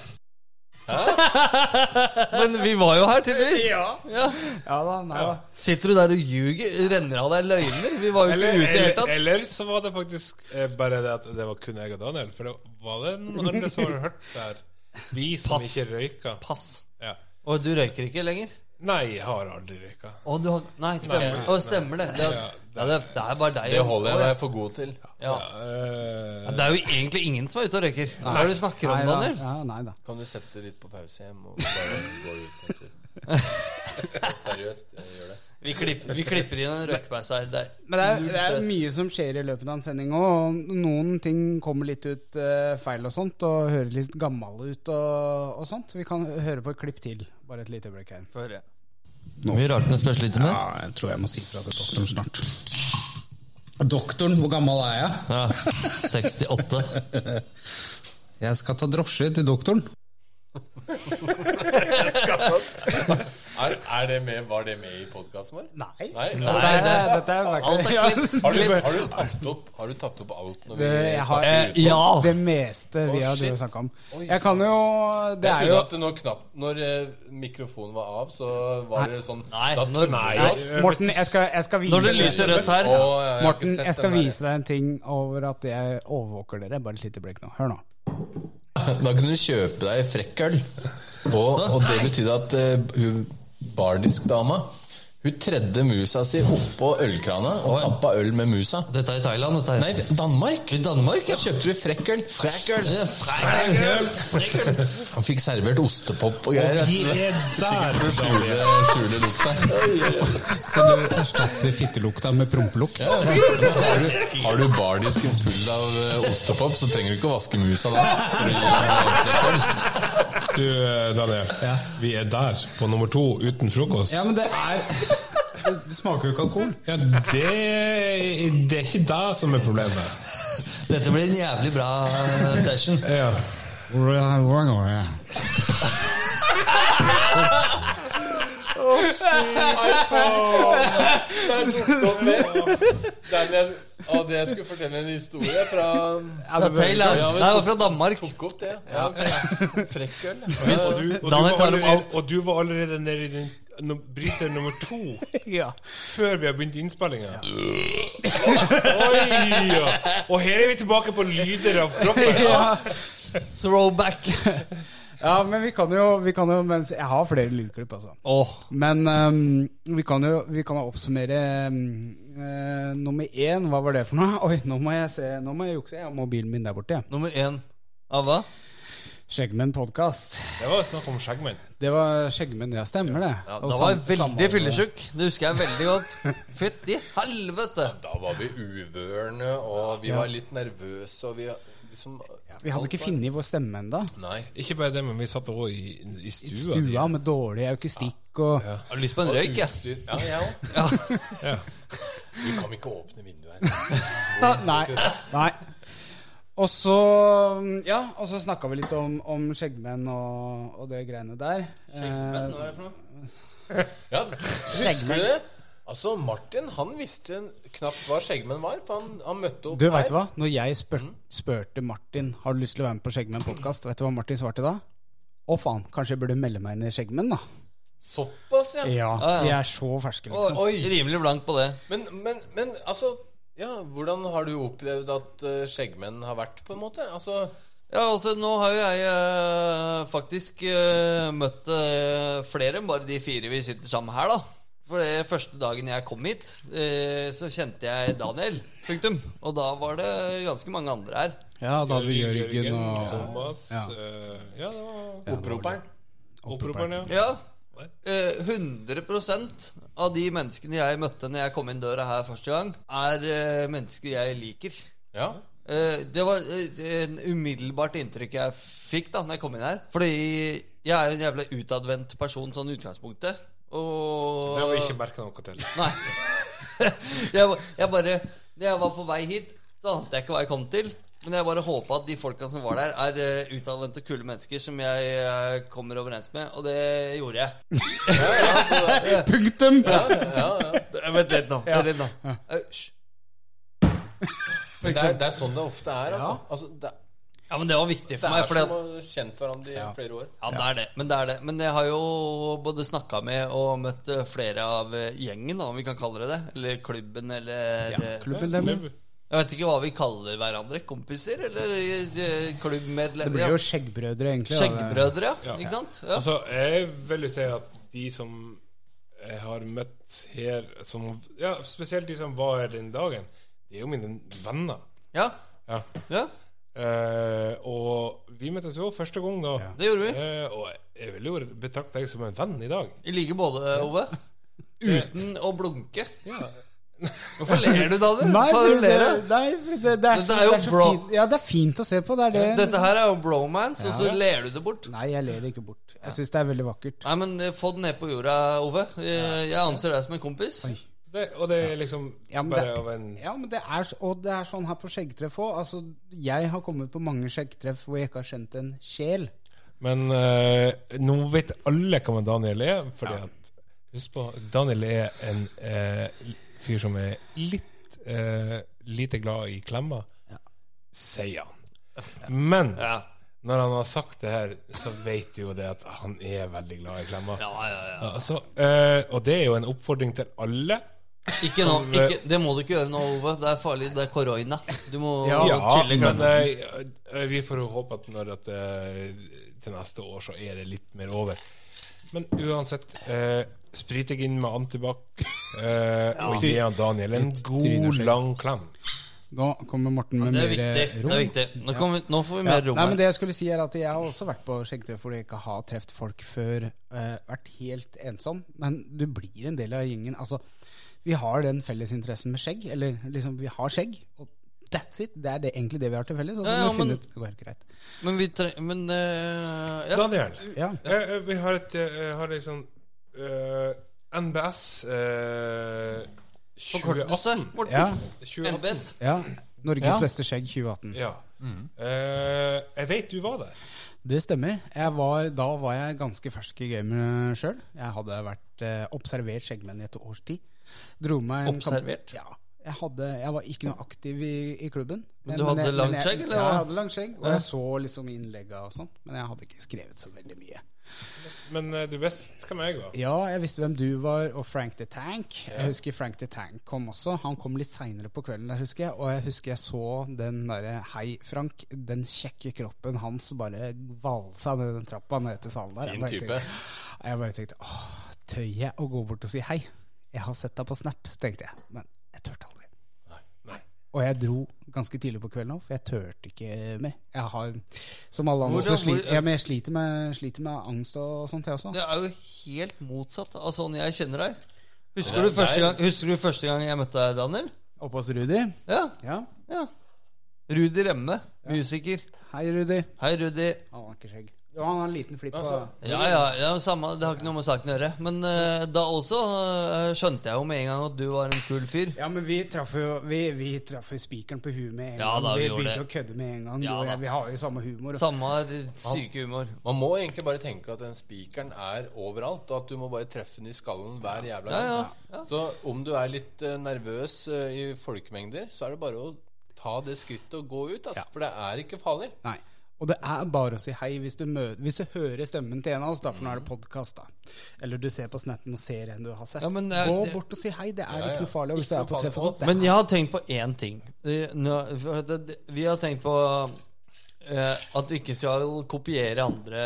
F: Men vi var jo her, tydeligvis.
D: Ja da, nei da.
F: Sitter du der og ljuger? Renner av deg løgner? Vi var jo ikke
B: Eller,
F: ute i det hele
B: eller,
F: tatt.
B: eller så var det faktisk eh, bare det at det var kun jeg og Daniel. For det var det noen andre som har hørt der? Vi som
F: Pass.
B: ikke røyka.
F: Pass.
B: Ja.
F: Og du røyker ikke lenger?
B: Nei, jeg har aldri røyka.
F: Å, du har Nei, stemmer det.
B: Nei.
F: Å, stemmer det. Det, er- ja, det, er- det er bare deg.
C: Det holder jeg
F: Å, ja.
C: meg for god til.
F: Ja.
B: Eh,
F: Det er jo egentlig ingen som er ute og røyker. Hva er det du snakker
D: Nei
F: om,
D: da.
F: Daniel?
D: Ja, nei da.
C: Kan du sette litt på pause hjem og bare gå ut en tur? Seriøst, jeg gjør det.
F: Vi klipper, vi klipper inn en røykpause her. Der.
D: Men det er, det er mye som skjer i løpet av en sending òg. Og noen ting kommer litt ut eh, feil og sånt, og hører litt gammel ut og, og sånt. Vi kan høre på et klipp til. Bare et lite øyeblikk her.
F: Får høre.
J: Mye rart den skal slite med.
H: Ja, jeg tror jeg må si fra til doktoren snart.
C: Doktoren, hvor gammel er jeg?
F: Ja, 68.
C: Jeg skal ta drosje til doktoren.
A: Er, er det med, var det med i podkasten vår?
D: Nei.
A: Nei?
F: Nei, det,
D: Dette er
F: alt
D: faktisk
F: er klips,
A: Har du,
F: klips.
A: har, du tatt opp, har du tatt opp alt når vi
D: Det- jeg har-
A: snakker
F: Eh,
A: ut?
F: ja.
D: det meste vi
A: Å,
D: har
A: shit.
D: drevet snakka om. Jeg kan jo Det
A: Jeg
D: er
A: trodde
D: jo
A: at når, knapp, når eh, mikrofonen var av, så var det sånn
F: Nei,
A: Da
F: når-
A: tømmer vi oss.
D: Morten, jeg skal, jeg skal
F: Når det
D: vise
F: lyser rødt her
A: Å, jeg har ikke
D: Morten,
A: sett
D: jeg skal
A: den der.
D: vise deg en ting over at jeg overvåker dere. Bare et lite blikk nå. Hør nå.
A: Da kunne du kjøpe deg frekkøl. Og, og det betydde at eh, hun bardisk-dama Hun tredde musa si oppå ølkrana og
F: Oi.
A: tappa øl med musa.
F: Dette er i Thailand, dette her.
A: Nei, Danmark!
F: I Danmark,
A: Da
F: ja.
A: kjøpte du frekkøl. Frekkøl!
F: Frekkøl, frekkøl.
A: Han fikk servert ostepop og greier. vet du.
B: Der!
A: For å skjule, skjule lukta.
C: Så du erstatter fittelukta med prompelukt?
A: Ja, men Har du, har du bardisken full av eh, ostepop, så trenger du ikke å vaske musa da. For å gi den frekkøl.
B: Du, eh, Daniel. Vi er der, på nummer to, uten frokost.
C: Ja, men det er Det det smaker jo ikke alkohol.
B: Ja, det, det er ikke deg som er problemet.
F: Dette blir en jævlig bra eh, session.
B: Ja.
C: Hvordan går det?
A: Den jeg, å, det jeg skulle fortelle en historie fra
F: Ja, Thailand.
A: Ja, men
F: Nei, det
A: tok-
F: var fra Danmark.
A: Tok opp det. Ja, Frekkøl. Ja,
B: Og du, og, du
F: Eh,
B: var
F: Daniel tar om
B: allerede,
F: alt.
B: og du var allerede nede i den no- bryter nummer to
D: Ja.
B: før vi har begynt innspillinga. Oi! Ja. Og her er vi tilbake på lyder av kroppen.
D: Ja.
F: Throwback.
D: ja, men vi kan jo, vi kan jo mens, Jeg har flere lydklipp, altså.
F: Åh,
D: Men ehm, vi kan jo vi kan jo oppsummere ehm, eh, nummer én. Hva var det for noe? Oi, nå må jeg se, nå må jeg jukse. Jeg har mobilen min der borte. jeg.
F: nummer én. Av hva?
D: Skjeggmenn podkast.
B: Det var snakk om skjeggmenn.
D: Det var Skjeggmenn, ja. Stemmer det.
F: Ja,
D: Og
F: da var jeg
D: sam-
F: veldig
D: samhold-
F: fyllesyk. Det husker jeg veldig godt. Fytti helvete.
A: Da var vi uvørne, og vi var litt nervøse, og vi liksom
D: Vi hadde ikke funnet vår stemme ennå.
A: Nei.
B: Ikke bare det, men vi satt òg i, i stua. di.
D: Stua med dårlig akustikk og
F: Har du lyst på en røyk, jeg?
A: Utstyr. Ja, jeg òg.
F: Ja.
A: Du kan ikke åpne vinduet her.
D: Nei. Nei. Og så ja, og så snakka vi litt om, om skjeggmenn og, og det greiene der. Eh, Skjeggmenn,
F: Hva er det for noe?
A: Ja, husker du det? Altså, Martin han visste knapt hva skjeggmenn var, for han, han møtte opp
D: Du, vet du hva? Når jeg spør,
F: Mm.
D: spurte Martin Har du lyst til å være med på Skjeggmenn podkast, vet du hva Martin svarte da? Å faen, kanskje jeg burde melde meg inn i Skjeggmenn, da.
A: Såpass, ja.
D: Ja,
F: Ja, ja.
D: De er så ferske,
F: Åh,
D: liksom.
A: Oi.
F: Rimelig blank på det.
A: Men, men, men altså ja, Hvordan har du opplevd at eh, skjeggmenn har vært, på en måte? Altså,
F: Ja, altså Nå har jo jeg eh, faktisk eh, møtt eh, flere enn bare de fire vi sitter sammen her, da. For det første dagen jeg kom hit, eh, så kjente jeg Daniel. Punktum. Og da var det ganske mange andre her.
D: Ja, da hadde vi Jørgen og
B: Thomas eh, Ja, det var
A: opproperen.
B: opproperen, ja.
F: Ja. Eh, 100 av de menneskene jeg møtte når jeg kom inn døra her første gang, er eh, mennesker jeg liker.
A: Ja.
F: Eh, det var eh, en umiddelbart inntrykk jeg fikk da når jeg kom inn her. Fordi jeg er jo en jævla utadvendt person sånn i utgangspunktet. Og
B: Det har vi ikke merka noe til.
F: Nei. jeg, ba- jeg bare Når jeg var på vei hit, så ante jeg ikke hva jeg kom til. Men jeg bare håpa at de folka som var der, er eh, utadvendte og kule mennesker som jeg eh, kommer overens med, og det gjorde jeg.
D: Punktum!
F: Eh, Vent litt nå. Vent litt nå. Eh, hysj.
A: Men det, er, det er sånn det ofte er, altså. altså det,
F: Ja, men det var viktig
A: det
F: for meg.
A: er
F: Fordi
A: som
F: at,
A: å ha kjent hverandre i flere år.
F: ja, det er det. Men det er det. Men jeg har jo både snakka med og møtt eh, flere av eh, gjengen, da, om vi kan kalle det det. Eller klubben, eller eh,
D: Klubben dem.
F: Jeg vet ikke hva vi kaller hverandre. Kompiser, eller eh,
D: Det
F: klubbmedlemmer?
D: blir
F: ja.
D: jo skjeggbrødre, egentlig. da.
F: Skjeggbrødre, ja. Ikke sant? Ja.
B: Altså, jeg vil jo si at de som jeg har møtt her som, ja, Spesielt de som var her den dagen, de er jo mine venner.
F: ja.
B: Ja.
F: ja.
B: Eh, og vi møttes jo første gang da.
F: Det gjorde vi.
B: Eh, og jeg vil jo betrakte deg som en venn i dag.
F: I like både, Ove. Uten å blunke. Hvorfor ler du, Daniel?
D: Nei,
F: Hvorfor
D: fordi det,
F: ler du?
D: nei, fordi det, det, er,
F: Dette er
D: så-
F: jo
D: det så
F: bra.
D: fint. Ja, det er fint å se på. Det er det.
F: Dette her er jo bromance, og så ler du det bort.
D: Nei, jeg ler ikke bort. Jeg syns det er veldig vakkert.
F: Nei, men eh, få den ned på jorda, Ove. Eh, Jeg anser deg som en kompis.
B: Det, og det er liksom
D: Ja, men
B: bare
D: det-
B: av en
D: Ja, men det er, s- og det er sånn her på skjeggtreff òg. Altså, jeg har kommet på mange skjeggtreff hvor jeg ikke har kjent en sjel.
B: Men eh, nå vet alle hva Daniel er. Fordi at, husk på, Daniel er en eh, fyr som er litt eh, lite glad i klemmer, sier han. Men når han har sagt det her, så vet du jo det at han er veldig glad i klemmer. Ja, så, eh, og det er jo en oppfordring til alle.
F: Ikke nå,
B: Som, eh,
F: ikke, det må du ikke gjøre nå, Ove. Det er farlig. Det er korona. Du må
D: Ja,
B: Ja,
F: chille
B: men
F: klemme.
B: eh, vi får jo håpe at når at, eh, til neste år så er det litt mer over. Men uansett, eh, sprit deg inn med antibac eh, og gi han Daniel en
D: tryn og
B: god,
D: skjegg.
B: lang klem.
D: Nå kommer Morten med
F: Det er
D: mer eh,
F: viktig.
D: rom.
F: Det er viktig. Nå, kan vi, nå får vi
D: Ja,
F: mer rom
D: nei, men
F: her.
D: det jeg skulle si er at Jeg har også vært på skjeggtreff hvor jeg ikke har truffet folk før. eh, vært helt ensom. Men du blir en del av gjengen. Altså, vi har den fellesinteressen med skjegg. Eller liksom, vi har skjegg. Og that's it! Det er det, egentlig det vi har til felles. Og så
F: Ja,
D: må
F: ja,
D: vi finne
F: men-
D: ut Det går helt greit.
F: Men vi trenger Men eh, ja.
B: Daniel,
D: Ja.
B: eh, eh, vi har et eh, har litt sånn eh, NBS eh, 2018.
F: Forkortelse, Morten.
D: Ja,
B: 2018.
F: NBS.
D: ja. Norges
B: Ja.
D: beste skjegg 2018.
B: Ja. Eh, jeg vet du var der.
D: Det stemmer. Jeg var, da var jeg ganske fersk i gamet sjøl. Jeg hadde vært eh, observert skjeggmenn i et års tid. Dro meg en kamp-
F: Observert?
D: Ja. Jeg, hadde, jeg var ikke noe aktiv i, i klubben.
F: du hadde
D: jeg-
F: langt
D: jeg-
F: skjegg, eller
D: Ja,
F: hva?
D: jeg hadde langt skjegg, og jeg så liksom innlegga og sånn. Men jeg hadde ikke skrevet så veldig mye.
B: Men eh, du visste hvem jeg var.
D: Ja, jeg visste hvem du var, og Frank the Tank. Jeg husker Frank the Tank kom også. Han kom litt seinere på kvelden, jeg husker jeg. Og jeg husker jeg så den derre Hei, Frank. Den kjekke kroppen hans bare valsa ned den trappa ned til salen der.
C: Fin
D: Jeg bare
C: type.
D: tenkte- Jeg bare tenkte åh, tør jeg å gå bort og si hei? Jeg har sett deg på Snap, tenkte jeg. Men jeg turte aldri. Og jeg dro ganske tidlig på kvelden òg, for jeg turte ikke mer. Jeg har, som alle andre,
F: Hvordan-
D: så sliter
F: hvor-
D: ja, men jeg sliter med, sliter med angst og sånt, jeg også.
F: Det er jo helt motsatt av sånn jeg kjenner deg. Husker du, første gang, husker du første gang jeg møtte deg, Daniel?
D: Oppe hos Rudi.
F: Ja.
D: Ja.
F: ja. Rudi Remme, musiker.
D: Hei, Rudi.
F: Hei, Rudi.
D: Han har ikke skjegg. Jo, han har en liten flipp. på
F: Ja, ja, ja, samme, det har ikke noe med saken å gjøre. Men eh, da også eh, skjønte jeg jo med en gang at du var en kul fyr.
D: ja, men vi traff jo vi, vi traff jo spikeren på huet med en
F: Ja,
D: gang.
F: da, vi
D: vi
F: gjorde
D: begynte
F: det.
D: å kødde med en gang.
F: Ja,
D: du og
F: da.
D: jeg, vi har jo samme humor.
F: Samme syke humor.
C: Man må egentlig bare tenke at den spikeren er overalt, og at du må bare treffe den i skallen hver jævla gang.
F: Ja,
C: Så om du er litt eh, nervøs eh, i folkemengder, så er det bare å ta det skrittet og gå ut, altså, for det er ikke farlig.
D: Nei. Og det er bare å si hei hvis du, mø- hvis du hører stemmen til en av oss. Da, for nå er det podkast, da. Eller du ser på snappen og ser en du har
F: Mm.
D: sett.
F: Ja, men, eh,
D: Gå
F: det-
D: bort og si hei. Det er
C: ja.
D: ikke noe farlig. Og hvis du
C: Ikke noe
D: er på
C: farlig.
D: treff og sånt, det
F: Men jeg har tenkt på én ting. Eh, nå- for det- det- Vi har tenkt på eh, at du ikke skal kopiere andre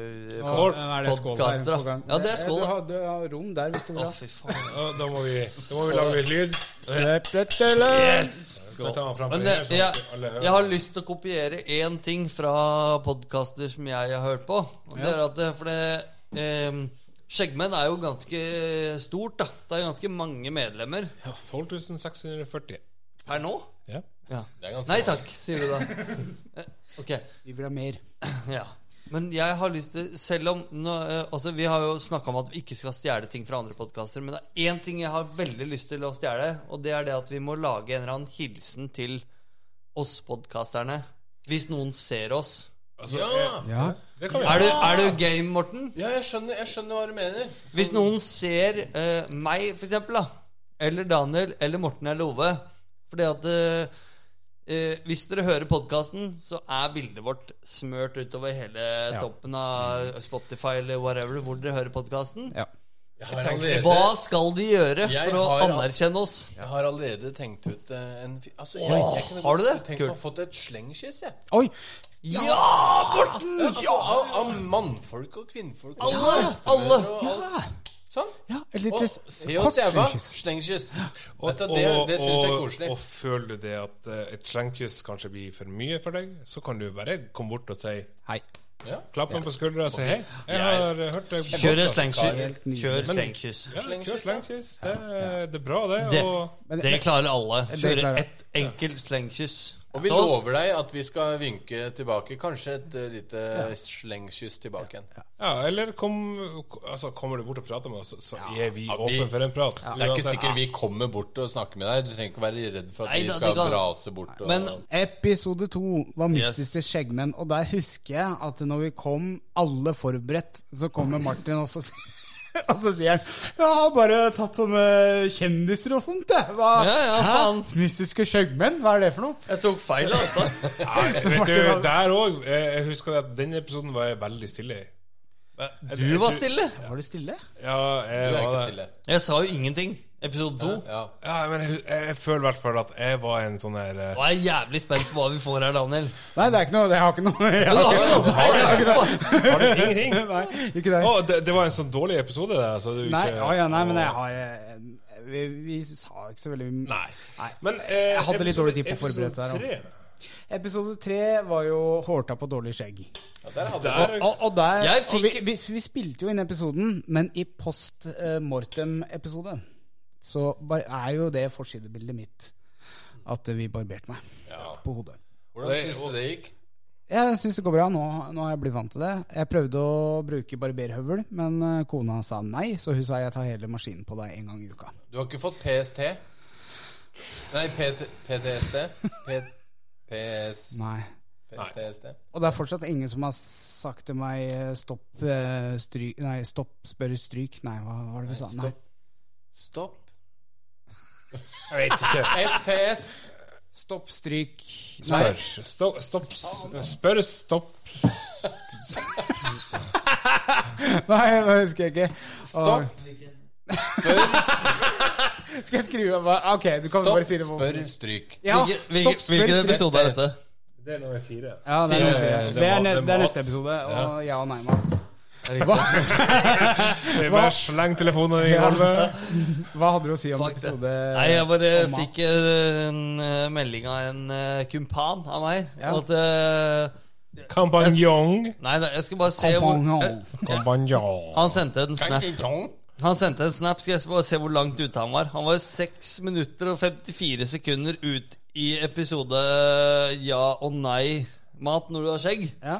F: eh,
B: Skål.
D: Ja, er det skål der
F: podcaster, da.
D: på gang?
F: Ja, det er skål,
D: Du
F: da.
D: har, du har rom der hvis du vil
F: Å,
D: ha.
F: fy faen.
B: Og Da må vi, da må vi lage litt lyd. Skal vi ta han fram på
F: Men
B: her,
F: det,
B: sånn
F: jeg,
B: at alle hører?
F: jeg har lyst til å kopiere én ting fra podkaster som jeg har hørt på. Og det er at det, for det eh, Skjeggmenn er jo ganske stort, da. Det er ganske mange medlemmer.
B: 12.640
F: Per nå?
B: Ja.
F: Ja.
C: Det er ganske
F: Nei
C: farlig.
F: takk, sier du da. Eh, Ok.
D: Vi vil ha mer.
F: Ja. Men jeg har lyst til Selv om nå, eh, altså Vi har jo snakka om at vi ikke skal stjele ting fra andre podkaster, men det er én ting jeg har veldig lyst til å stjele, og det er det at vi må lage en eller annen hilsen til oss podkasterne. Hvis noen ser oss.
B: Altså,
C: Ja.
B: ja. Det kan vi
F: Er du, er du game, Morten?
C: Ja, jeg skjønner, jeg skjønner hva du mener.
F: Hvis noen ser eh, meg, for eksempel, da, eller Daniel, eller Morten eller Ove Fordi at eh, eh, hvis dere hører podkasten, så er bildet vårt smørt utover hele toppen av Spotify eller whatever hvor dere hører podkasten.
D: Ja.
C: Jeg har allerede,
F: Hva skal de gjøre
C: Jeg
F: for å
C: har-
F: anerkjenne oss?
C: jeg har allerede tenkt ut eh, en fi- altså, jeg, jeg kunne,
F: har du det?
C: Tenk meg å
F: Kult.
C: fått et slengkyss, jeg.
D: Oi!
F: Ja, Morten!
C: Ja, altså, av, av mannfolk og kvinnfolk. og
F: Alle,
C: bestemødre
F: alle.
C: og alt. Sånn.
D: Ja, et
C: Og
D: lite
C: se oss jævla slengkyss. Vet du, Det, det syns jeg er koselig.
B: Og føler du det at eh, et slengkyss kanskje blir for mye for deg, så kan du bare komme bort og si
D: Hei.
B: Klapp meg på skuldra og si hei. Jeg har eh, hørt deg på
F: Kjør
B: podcast.
F: slengkyss. Kjør slengkyss.
B: Ja, kjør slengkyss. Det, er- det er bra, det.
F: Det,
B: Og
F: det klarer alle.
D: klarer-
F: Kjøre ett enkelt slengkyss.
C: Og vi
F: Da s-
C: lover deg at vi skal vinke tilbake. Kanskje et eh, lite slengkyss tilbake igjen.
B: Ja, eller kom, altså, kommer du bort og prater med oss, så- så er vi åpne for en prat.
C: Det er ikke
B: uansett.
C: sikkert vi kommer bort og snakker med deg. Du trenger ikke være redd for at
F: Nei,
C: vi
F: da,
C: skal
F: det kan-
C: brase bort. Og...
F: Men
D: Episode to var mystiske skjeggmenn, og der husker jeg at når vi kom alle forberedt, så kommer Martin og så s- og så sier han Jeg har bare tatt sånne kjendiser og sånt, jeg. Hva?
F: Ja, ja,
D: Hæ?
F: faen.
D: Mystiske skjeggmenn? Hva er det for noe?
F: jeg tok feil av dette.
B: Nei, vet
D: Martin
B: du,
D: har-
B: der òg Jeg husker at den episoden var jeg veldig stille i. Men-
F: Du
B: jeg-
F: var
B: jeg-
F: stille.
D: Var du stille?
B: Ja,
C: Du
B: jeg
C: er ikke
B: var det.
C: stille.
F: Jeg sa jo ingenting. Episode to.
C: Ja.
B: Ja, men jeg, jeg føler i hvert fall at jeg var en sånn her eh,
F: Nå er jeg jævlig spent på hva vi får her, Daniel.
D: Nei, det er ikke noe. Det har ikke noe. Jeg har ikke noe.
B: Har du ingenting?
D: Nei, ikke det.
B: Å, det, det var en sånn dårlig episode, det. Så du
D: Nei,
B: ikke,
D: ja, ja, nei, men jeg har eh, vi, vi sa ikke så veldig mye.
B: Nei. Men eh,
D: Jeg hadde litt
B: episode-
D: dårlig tid på å forberede
B: episode
D: her,
B: tre,
D: Episode tre var jo hårta på dårlig skjegg.
C: Ja, der hadde
B: Der,
D: Og, og der
F: Jeg
D: og vi,
F: fikk-
D: vi, vi spilte jo inn episoden, men i post eh, mortem-episode så bar, er jo det forsidebildet mitt. At vi barberte meg på hodet.
C: Hvordan syns du det gikk?
D: Jeg syns det går bra. Nå, nå har jeg blitt vant til det. Jeg prøvde å bruke barberhøvel, men eh, kona sa nei, så hun sa jeg tar hele maskinen på deg en gang i uka.
C: Du har ikke fått PST? Nei, PT, PTSD? P, PS,
D: Nei.
C: PTSD?
D: Og det er fortsatt ingen som har sagt til meg eh, stopp, eh, stryk, nei, stopp, spør, stryk. Nei, hva var det vi sa? Nei.
C: Stopp. Stopp.
B: Jeg vet ikke.
C: STS.
D: Stopp, stryk. Nei.
B: Spør. Stopp, stopp s- Spør, stopp
D: Nei, det husker jeg ikke.
C: Stopp.
D: Skal jeg skru av hva- Ok, du kan
C: Stopp,
D: bare si det. på-
C: spør, stryk.
D: Ja,
F: Hvilke-
D: stopp, Eh,
F: hvilke-
D: spør,
F: Hvilken
D: stryk.
F: episode er eh, dette?
B: Det er nummer fire.
D: Ja, det er,
B: Ja, ja, ja,
D: det er,
B: det
D: ne
B: må- det
D: det er
B: må-
D: neste episode, og ja og nei-mat.
B: Det er Bare sleng telefonen i
D: Ja.
B: gulvet.
D: Hva hadde du å si om
F: Fuck det.
D: episode
F: Nei, jeg bare
D: om mat?
F: fikk eh, en eh, melding av en eh, kumpan av meg.
D: Ja.
F: At eh,
B: Kampanjong.
F: Nei, nei, jeg skal bare se hvor
D: Kompanjong.
F: Eh,
B: Kampanjong.
F: Han sendte en snap.
C: Tong.
F: Han sendte en snap, skal jeg bare se hvor langt ute han var. Han var 6 minutter og 54 sekunder ut i episode eh, ja og nei mat når du har skjegg.
D: Ja.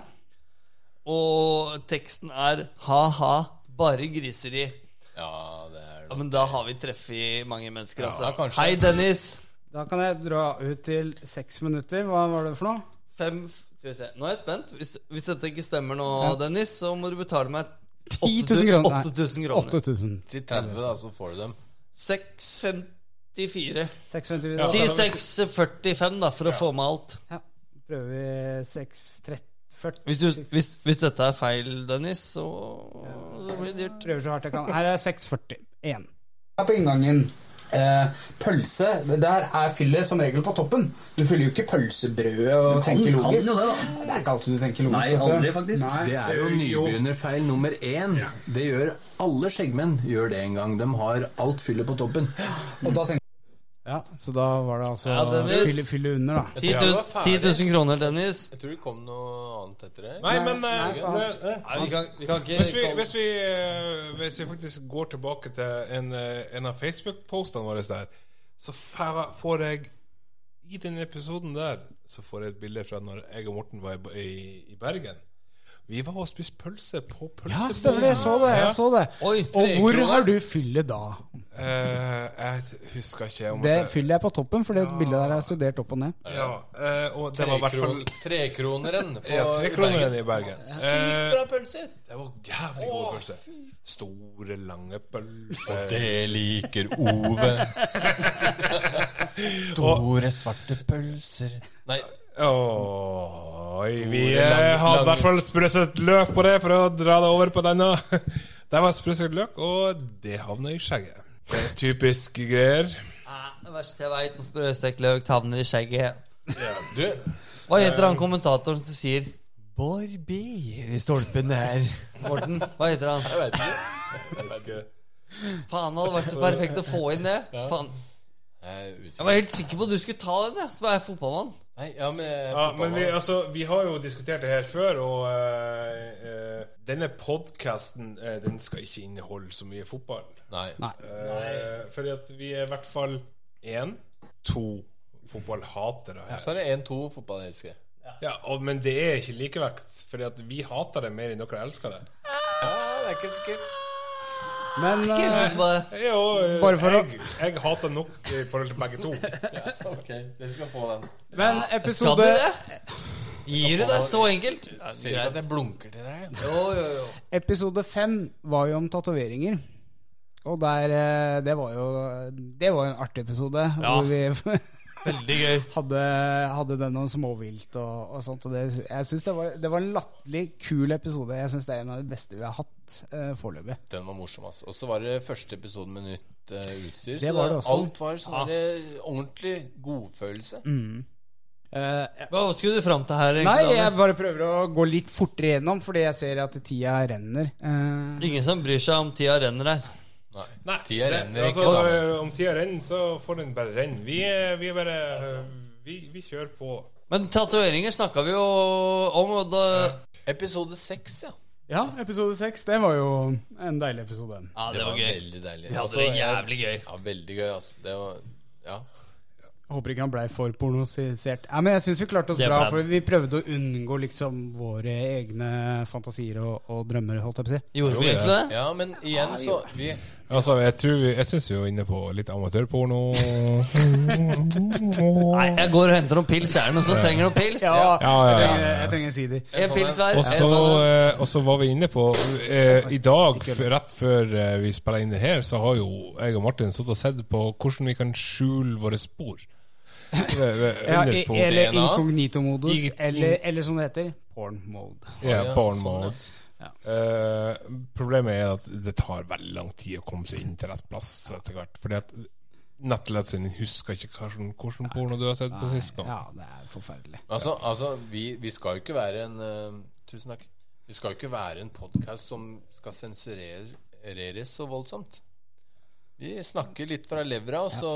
F: Og teksten er ha-ha, bare griseri.
C: Ja, det er
F: Ja, men da har vi treffet mange mennesker, altså.
C: Ja, kanskje.
F: Hei, Dennis.
D: Da kan jeg dra ut til seks minutter. Hva var det for noe?
F: Fem Skal vi se. Nå er jeg spent. Hvis, hvis dette ikke stemmer nå, Dennis, så må du betale meg
D: 10 000 kroner. Nei.
F: 8000 kroner.
D: 8000.
C: Si 30, da, så får du dem.
F: 654.
D: 650
F: Si
D: da.
F: 645, da, for å få med alt.
D: Ja. Prøver vi 640
F: Hvis, du, hvis, hvis dette er feil, Dennis, så, så blir det dyrt.
D: Prøver så hardt jeg kan. Her er 640. Én. Her på inngangen. Eh, pølse Det der er fyllet som regel på toppen. Du fyller jo ikke pølsebrødet og tenker
J: kan
D: logisk.
J: jo det, da.
D: det er ikke alltid du tenker logisk.
J: Nei,
D: vet du.
J: aldri, faktisk.
D: Nei.
A: Det er jo
B: eh,
A: nybegynnerfeil nummer én. Det gjør alle skjeggmenn gjør det en gang. De har alt fyllet på toppen.
D: Og da tenker Ja, så da var det altså
F: Ja, Dennis.
D: fylle, fylle under, da.
F: 10
C: tror jeg var
F: 000,
C: ferdig.
F: kroner, Dennis.
C: Jeg tror det kom noe annet etter det.
B: Nei, men eh,
D: faen.
B: det- eh.
F: Nei, vi kan, vi kan ikke
B: Hvis vi, hvis, vi, eh, hvis vi faktisk går tilbake til en, eh, en av Facebook-postene våre der, så fa- får jeg I den episoden der så får jeg et bilde fra når jeg og Morten var i, Ba- i, i Bergen. Vi var og spiste pølse på pølsebåten.
D: Ja, stemmer det. Jeg så det. Jeg så det.
F: Oi,
D: og hvor
F: trekroner.
D: har du fyllet da?
B: Eh, jeg husker ikke om
D: Det
B: at jeg-
D: fyller jeg på toppen, for det bildet der er studert opp og ned.
B: ja, eh, Og det var i hvert fall
C: Trekron- Trekroneren på
B: ja, tre kroner
C: Bergen.
B: i Bergen. Eh,
C: Bra pølser.
B: det var jævlig gode pølser. Store, lange pølser.
C: Det liker Ove. Store, svarte pølser Nei,
B: Oi, vi
C: Store, lang-
B: eh, hadde i
C: lang-
B: hvert fall sprøsset løk på det for å dra det over på denne. Der var sprøsset løk, og det havna i skjegget. Det er Typisk greier.
F: Nei, Det verste jeg veit, når sprøstekt løk havner i skjegget.
C: du
F: Hva heter han kommentatoren som sier 'barber' i stolpen der? Morten, hva heter han?
C: Jeg vet ikke.
F: Faen, det hadde vært så perfekt å få inn det. Faen.
C: Jeg er
F: Jeg
C: usikker.
F: var helt sikker på at du skulle ta den, jeg, som er fotballmann.
C: Nei, ja, men, eh,
B: Ja, men vi, altså, vi har jo diskutert det her før, og eh, eh, denne podkasten den skal ikke inneholde så mye fotball.
C: Nei.
D: Nei.
B: Eh, fordi at vi er i hvert fall én, to fotballhatere her.
C: Så er det 1-2 fotballelskere.
B: Ja, og, men det er ikke likevekt, Fordi at vi hater det mer enn dere elsker det.
C: Ja, det er ikke sikkert.
D: Men eh,
B: Jo, eh,
D: Bare for å-
B: jeg, jeg hater nok i forhold til begge to.
C: Ok, dere skal få den.
D: eh, Men
F: Skal du
D: episode,
F: det? Gir du deg så enkelt?
C: Ser ikke at jeg blunker til deg.
F: Jo, jo, jo.
D: episode fem var jo om tatoveringer. Og der eh, Det var jo Det var jo en artig episode.
F: Ja.
D: Hvor vi
F: Veldig gøy.
D: hadde, hadde den om småvilt og, og sånt. Og det, jeg synes det, var, det var en latterlig kul episode. Jeg syns det er en av de beste vi har hatt uh, foreløpig.
C: Den var morsom, ass. Og så var det første episoden med nytt eh, utstyr.
D: Det
C: så
D: var det også.
C: alt var sånn der, eh, ordentlig godfølelse.
A: Mm.
D: Eh,
F: Hva skulle du fram til her? egentlig,
D: nei, jeg
F: Daniel?
D: bare prøver å gå litt fortere gjennom, fordi jeg ser at tida renner. Eh,
F: Ingen som bryr seg om tida renner her.
C: Nei.
B: Nei,
C: Tida
B: det-
C: renner ikke,
B: altså,
C: altså.
B: eh, Om tida renner, så får den bare renne. Vi, er- vi er bare eh, vi, vi kjører på.
F: Men tatoveringer snakka vi jo om, og da
C: Episode seks, ja.
D: ja, episode seks. Det var jo en deilig episode.
F: Ja, det var gøy.
C: veldig deilig.
F: Vi hadde
C: Altså,
F: det
C: jeg-
F: jævlig gøy.
C: Ja, veldig gøy, altså. Det var Ja.
D: Jeg håper ikke han blei for pornosisert. Nei, men jeg syns vi klarte oss
F: Det
D: bra,
F: ble han.
D: for vi prøvde å unngå liksom våre egne fantasier og, og drømmer, holdt jeg på å si.
F: Gjorde vi egentlig det?
C: ja, men igjen så vi,
B: Altså, jeg tror vi, Jeg syns vi er inne på litt amatørporno.
F: Nei, jeg går og henter noen pils. Er det noen som trenger noen pils?
B: Ja,
D: Ja,
B: ja, ja.
D: Jeg, trenger, jeg trenger sider.
F: En pils hver.
B: Og så, eh, og så var vi inne på eh, I dag, f rett før eh, vi spilla inn det her, så har jo jeg og Martin sittet og sett på hvordan vi kan skjule våre spor. Eh, eh,
D: Ja,
B: Under
D: i-
B: på
D: eller
C: DNA.
D: inkognito-modus,
B: Ing-
D: eller, eller som det heter, porn mode.
B: ja,
C: ja,
B: barn
C: sånn,
B: mode. Eh, problemet er at det tar veldig lang tid å komme seg inn til rett plass etter hvert. Fordi at nettleseren din husker ikke hva som- hvordan porno du har sett på sist gang.
D: Ja, det er forferdelig.
C: Altså, altså vi, vi skal jo ikke være en eh, Tusen takk. Vi skal jo ikke være en podkast som skal sensureres så voldsomt. Vi snakker litt fra levra, og så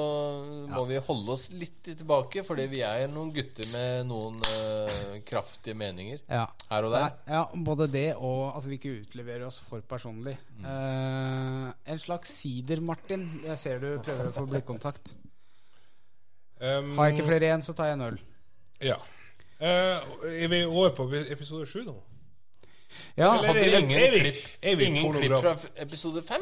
C: må vi holde oss litt tilbake, fordi vi er noen gutter med noen eh, kraftige meninger
D: Ja.
C: her og
D: Nei,
C: der.
D: ja, både det og altså, vi ikke utleverer oss for personlig. Eh, en slags sider, Martin. Jeg ser du prøver å få blikkontakt.
B: Um,
D: Har jeg ikke flere igjen, så tar jeg en øl.
B: ja. Eh, er vi over på episode sju nå?
D: Ja,
B: Eller
C: Hadde
B: er vi-
C: ingen
B: er vi-
C: klipp,
B: er vi
C: ingen klipp
B: pornograf?
C: fra f- episode fem?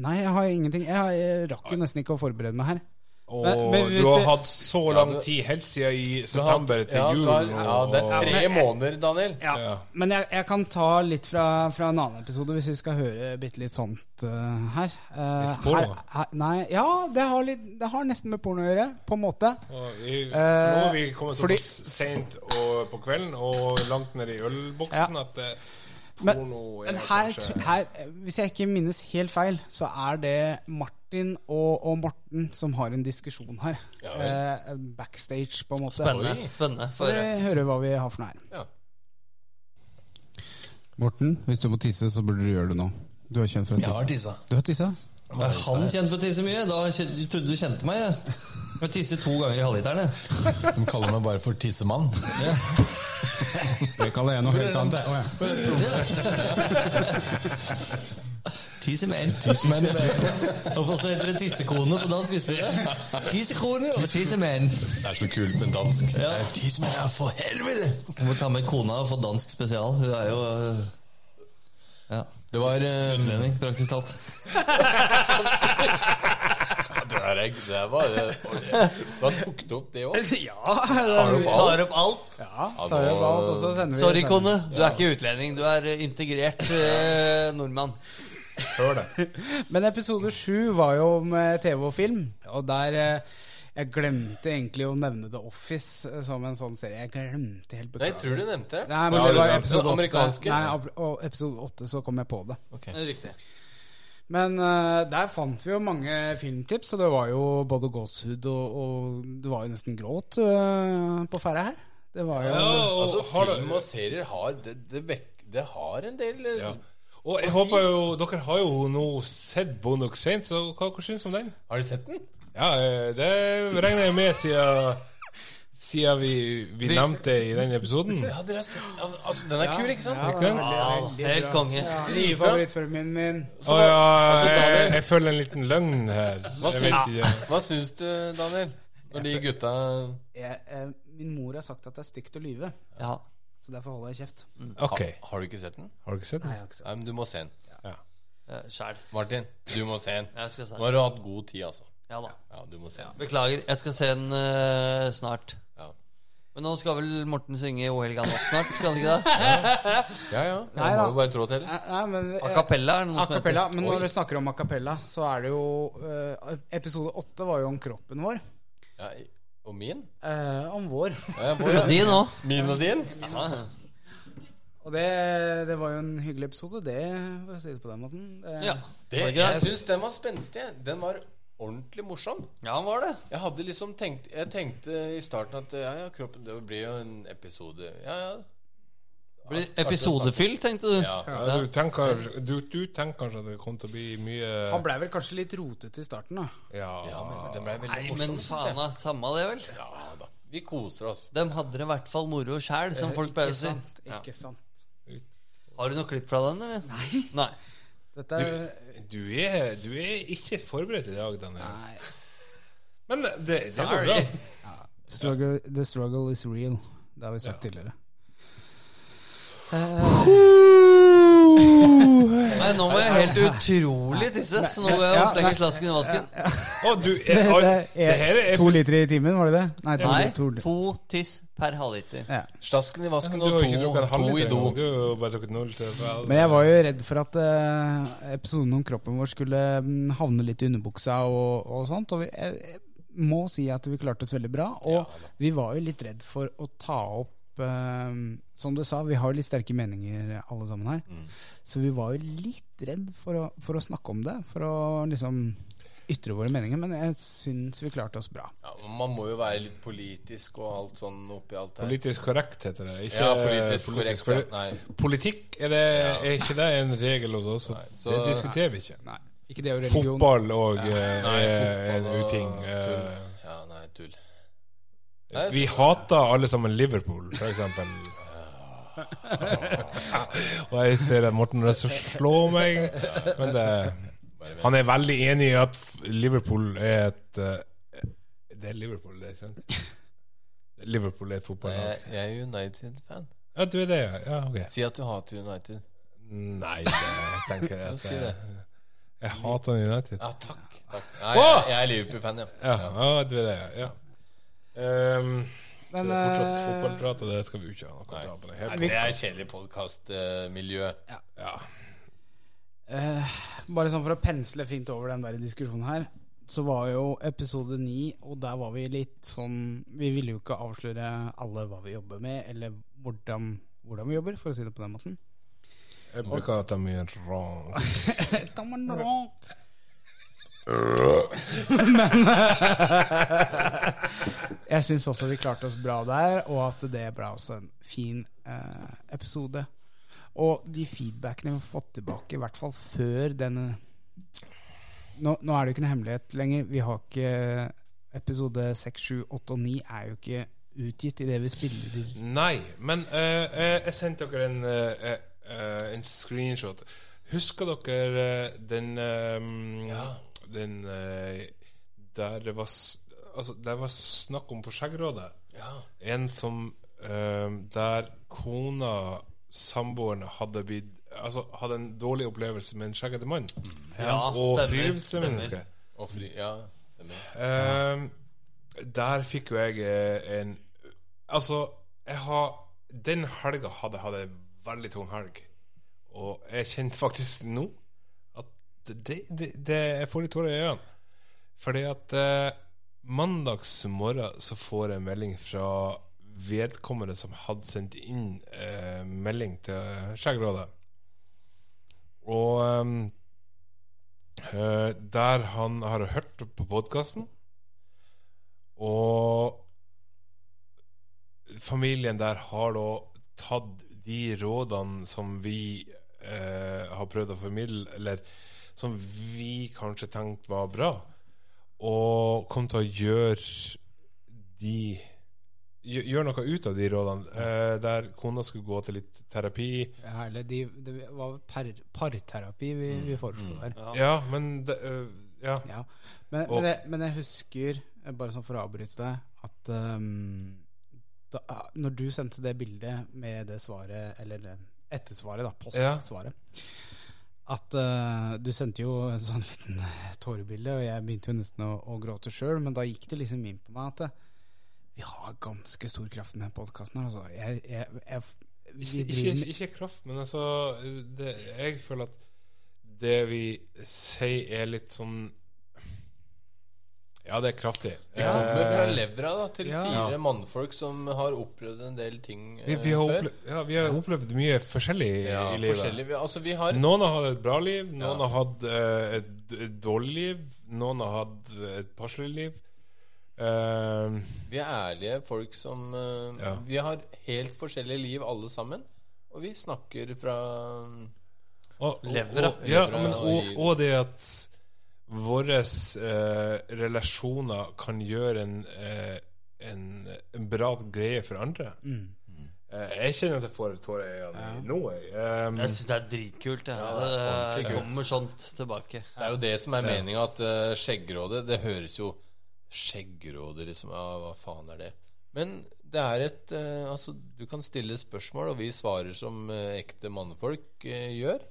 D: Nei, jeg har ingenting. Jeg, har, jeg rakk jo nesten ikke å forberede meg her.
B: Og
D: Men- men hvis
B: du har
D: det-
B: hatt så lang
C: du-
B: tid, helt siden i
C: Du har hatt-
B: september til
C: ja,
B: jul.
C: du har- Ja,
B: og-
C: det er tre måneder, Daniel.
D: Ja,
B: Ja.
D: Men jeg, jeg kan ta litt fra, fra en annen episode, hvis vi skal høre bitte litt sånt eh, her. Eh,
B: Litt porno?
D: her, her. Nei, ja, det har, litt, det har nesten med porno å gjøre, på en måte.
B: og i- for nå har vi kommet
D: Eh, fordi-
B: såpass seint og- på kvelden og langt ned i ølboksen at eh,
D: Men-
B: porno er
D: Men her,
B: kanskje
D: tr- her, eh, hvis jeg ikke minnes helt feil, så er det Martin og, og Morten som har en diskusjon her.
C: Ja,
D: Eh, backstage, på en måte.
F: Spennende. spennende
D: Skal
F: for,
D: vi høre hva vi har for noe her.
C: Ja.
H: Morten, hvis du må tisse, så burde du gjøre det nå. Du er kjent for å tisse.
C: tissa.
H: Du har tissa?
J: Er han kjent for å tisse mye? Da kjen- du trodde du kjente meg. Jeg, jeg tisser to ganger i halvliteren. jeg.
C: De kaller meg bare for tissemann.
H: Det kaller jeg noe helt annet. Å, ja.
J: Tisse mer. Hvorfor så heter det tissekone på dansk? Visste du det? Tissekone og tissemenn.
C: Det er så kult med dansk. Ja. Tissemann er for helvete!
J: Jeg må ta med kona og få dansk spesial. Hun er jo øh, ja,
C: Det var eh,
J: utlending, praktisk talt.
C: Det der er- det der var det- Da tok du opp det òg.
D: Ja,
C: Tar du
F: Tar opp
C: opp alt?
F: alt.
D: ja tar jeg på alt, og så sender vi
F: Sorry,
D: sender-
F: kone. Du er ikke utlending. Du er eh, integrert eh, nordmann.
B: Hør det.
D: Men episode sju var jo om eh, TV og film, og der eh, Jeg glemte egentlig å nevne The Office eh, som en sånn serie. Jeg glemte helt
C: Nei, jeg
D: beklager.
C: tror du nevnte det.
D: Nei, men
B: Ja,
D: det var
B: det
D: episode
C: amerikanske.
D: åtte. Nei, ap- og episode åtte, så kom jeg på det.
F: Riktig.
D: Men eh, der fant vi jo mange filmtips, og det var jo både gåsehud og, og Det var jo nesten gråt eh, på ferde her. Det var jo
B: og,
C: Altså,
B: har
C: film
B: det-
C: og serier har Det, det, vekk, det har en del eh,
B: ja. og jeg håper jo Dere har jo nå sett Bonok seint, så hva, hva syns du om den?
C: Har du sett den?
B: Ja, eh, det regner jeg med siden Siden vi, vi nevnte det i den episoden.
C: Ja, dere har sett al- Altså, den er kul, ikke sant?
B: Ikke sant?
F: Helt konge.
D: Nye favorittfilmen min.
B: Å ja, eh,
C: altså,
B: jeg,
C: Daniel-
B: jeg føler en liten løgn her.
C: Hva
B: Jeg vet
C: syns,
B: ikke.
C: hva syns du, Daniel? Når de gutta
D: Jeg, eh, min mor har sagt at det er stygt å lyve,
F: Ja.
D: så derfor holder jeg kjeft.
B: Ok.
C: ha, Har du ikke sett den?
B: Har du ikke sett
D: Nei,
B: den?
D: jeg har ikke sett
C: Nei, men du må se den.
F: Eh, Sjæl.
C: Martin, du må se den.
F: Jeg skal se
C: Nå har du hatt god tid, altså.
F: Ja da.
C: Ja, du må se den.
F: Beklager. Jeg skal se den eh, snart.
C: Ja.
F: Men nå skal vel Morten synge O helga natt snart? Skal han ikke det?
C: Ja, ja.
D: Nei
C: Jeg må
D: da.
C: jo bare trå til.
D: Nei, nei, men, eh,
F: A cappella er det noe
D: a
F: som heter.
D: cappella, men når du snakker om a cappella, så er det jo eh, Episode åtte var jo om kroppen vår.
C: Ja, og min?
D: Eh, om vår.
C: Ja, jeg må jo-
F: De nå.
C: Min og din?
D: Og det, det var jo en hyggelig episode, det, for å si det på den måten. Eh, Det,
F: Ja.
C: Det,
F: Var det greit?
C: jeg syns den var spenstig. Den var ordentlig morsom.
F: ja, han var det.
C: Jeg hadde liksom tenkt Jeg tenkte i starten at ja, ja, kroppen Det blir jo en episode. Ja, ja.
F: Blir episodefyll, tenkte du?
C: Ja.
B: Ja, du, tenker, du, du tenker kanskje at det kommer til å bli mye
D: Han blei vel kanskje litt rotete i starten, da.
B: Ja,
C: ja men den ble veldig
F: Nei,
C: morsom.
F: men
C: synes jeg.
F: faen da, samme det, vel?
C: Ja, da. Vi koser oss.
F: Dem hadde det i hvert fall moro sjæl, som folk pleier å si.
D: Sant,
F: Ja.
D: ikke sant.
F: Har du noe klipp fra den, eller? Nei. Nei.
D: Dette er
B: du, er, du er ikke forberedt i dag, Daniel.
D: Nei.
B: Men det, det går bra.
D: Struggle, the struggle is real. Det har vi sagt tidligere.
F: Nei, nå var jeg helt utrolig tisse, så nå går jeg og slenger slasken i vasken.
B: Å, du er, oi,
D: Det
B: det her
D: er
B: er
D: to liter i timen, var det det? Nei, to,
F: Nei,
D: to, to.
F: to tiss per halvliter.
D: Ja.
C: Slasken i vasken
B: Du
C: og
B: har ikke
C: to,
B: drukket en
C: to i
B: halvliter
C: do.
B: engang. Du har jo bare drukket null til vel.
D: Men jeg var jo redd for at eh, episoden om kroppen vår skulle mm, havne litt i underbuksa og, og sånt. Og vi, jeg, jeg må si at vi klarte oss veldig bra. Og vi var jo litt redd for å ta opp eh, Som du sa, vi har jo litt sterke meninger alle sammen her. Så vi var jo litt redd for å, for å snakke om det. For å liksom ytre våre meninger. Men jeg syns vi klarte oss bra.
C: Ja, men man må jo være litt politisk og alt sånn oppi alt her.
B: Politisk korrekt heter det. Ikke
C: Ja, politisk korrekt, ja.
B: korrekt.
C: Nei.
B: Politikk, er, det, er ikke det en regel hos oss?
C: så-
B: det diskuterer vi ikke.
D: Nei, ikke det og religion.
B: Fotball og eh,
C: Nei,
B: er en
C: fotball og
B: uting.
C: tull.
B: eh.
C: Ja, nei, tull.
B: Vi hater alle sammen Liverpool, for eksempel. Og jeg ser at Morten har lyst til å slå meg, men det Han er veldig enig i at Liverpool er et eh, Det er Liverpool, det, ikke sant? Liverpool er et
C: Jeg,
B: fotballag.
C: jeg er United-fan.
B: Ja, du er det, ja. ja? Ok.
C: Si at du hater United.
B: Nei, det tenker jeg
C: Jo,
B: at
C: si
B: jeg,
C: det.
B: jeg hater United.
C: Ja, takk. takk. Nei, jeg, jeg er Liverpool-fan, ja.
B: Ja, ja, du er det, ja. Um,
D: Men,
B: det er fortsatt
D: eh,
B: fotballprat, og det skal vi jo ikke ha noe å ta på. Det her.
C: Det er kjedelig podkastmiljø.
B: Ja.
D: Eh, bare sånn for å pensle fint over den der diskusjonen her, så var jo episode ni, og der var vi litt sånn Vi ville jo ikke avsløre alle hva vi jobber med, eller hvordan, hvordan vi jobber, for å si det på den måten.
B: Jeg bruker å ta mye rank.
D: Da må den råk. Men eh, jeg syns også vi klarte oss bra der, og at det ble også en fin eh, episode. Og de feedbackene vi har fått tilbake, i hvert fall før denne Nå, nå er det jo ikke noe hemmelighet lenger. Vi har ikke Episode 6, 7, 8 og 9 er jo ikke utgitt idet vi spiller i
B: Nei, men eh, eh, jeg sendte dere en, eh, eh, en screenshot. Husker dere eh, den eh, Den eh, der det var s- Altså, der var snakk om på Skjeggrådet. En som eh, Der kona, samboeren, hadde blitt Altså hadde en dårlig opplevelse med en skjeggete mann.
F: Mm. Ja,
B: og
F: stemmer,
B: friluftsmenneske.
C: Og fri, ja, stemmer.
B: Ehm, der fikk jo jeg eh, en Altså, jeg har Den helga hadde jeg hatt en veldig tung helg. Og jeg kjente faktisk nå at det, det, det, jeg får litt tårer i øynene. Fordi at eh, mandags morgen så får jeg en melding fra vedkommende som hadde sendt inn eh, melding til Skjeggrådet. Og ehm, Eh, der han har hørt på podkasten. Og familien der har da tatt de rådene som vi eh, har prøvd å formidle, eller som vi kanskje tenkte var bra, og kom til å gjøre de gjø- Gjøre noe ut av de rådene. eh, der kona skulle gå til litt terapi.
D: Herlig. De, det var par, parterapi vi, vi foreslo der.
B: Ja, men det, eh, Ja.
D: Ja. Men, men, jeg, men jeg husker eh, bare sånn for å avbryte deg, at ehm, da, ah, når du sendte det bildet med det svaret, eller det ettersvaret, da, postsvaret At eh, du sendte jo en sånn liten tårebilde, og jeg begynte jo nesten å, å gråte sjøl, men da gikk det liksom inn på meg at eh, vi har ganske stor kraft med den podkasten her, altså. Jeg, jeg, jeg, vi
B: ikke,
D: driver med
B: ikke kraft, men altså det, Jeg føler at det vi sier, er litt sånn Ja, det er kraftig. Eh,
C: Det kommer fra levra da, til
D: ja.
C: fire mannfolk som har opplevd en del ting eh,
B: vi, vi, har
C: før.
B: opplevd, ja, vi har opplevd mye forskjellig
C: Ja,
B: i livet.
C: forskjellig. Vi- Altså, vi har
B: Noen har hatt et bra liv, noen har hatt eh, et, et dårlig liv, noen har hatt et passelig liv. Eh,
C: Vi er ærlige folk som eh,
B: Ja.
C: Vi har helt forskjellige liv alle sammen. Og vi snakker fra
B: og, og,
F: Levra.
B: og, ja,
C: Levra
B: men, og,
C: og-
B: og det at våre eh, relasjoner kan gjøre en, eh, en, en bra greie for andre. Eh, jeg kjenner at jeg får tårer i øynene nå. Jeg. Um,
F: Jeg syns det er dritkult. Jeg.
C: det er
F: det,
C: ordentlig kult.
F: kommer sånt tilbake.
C: Det er jo det som er meninga, at eh, skjeggråde Det høres jo Skjeggråde, liksom. Ja, hva faen er det? Men det er et eh, Altså, du kan stille spørsmål, og vi svarer som eh, ekte mannfolk eh, gjør.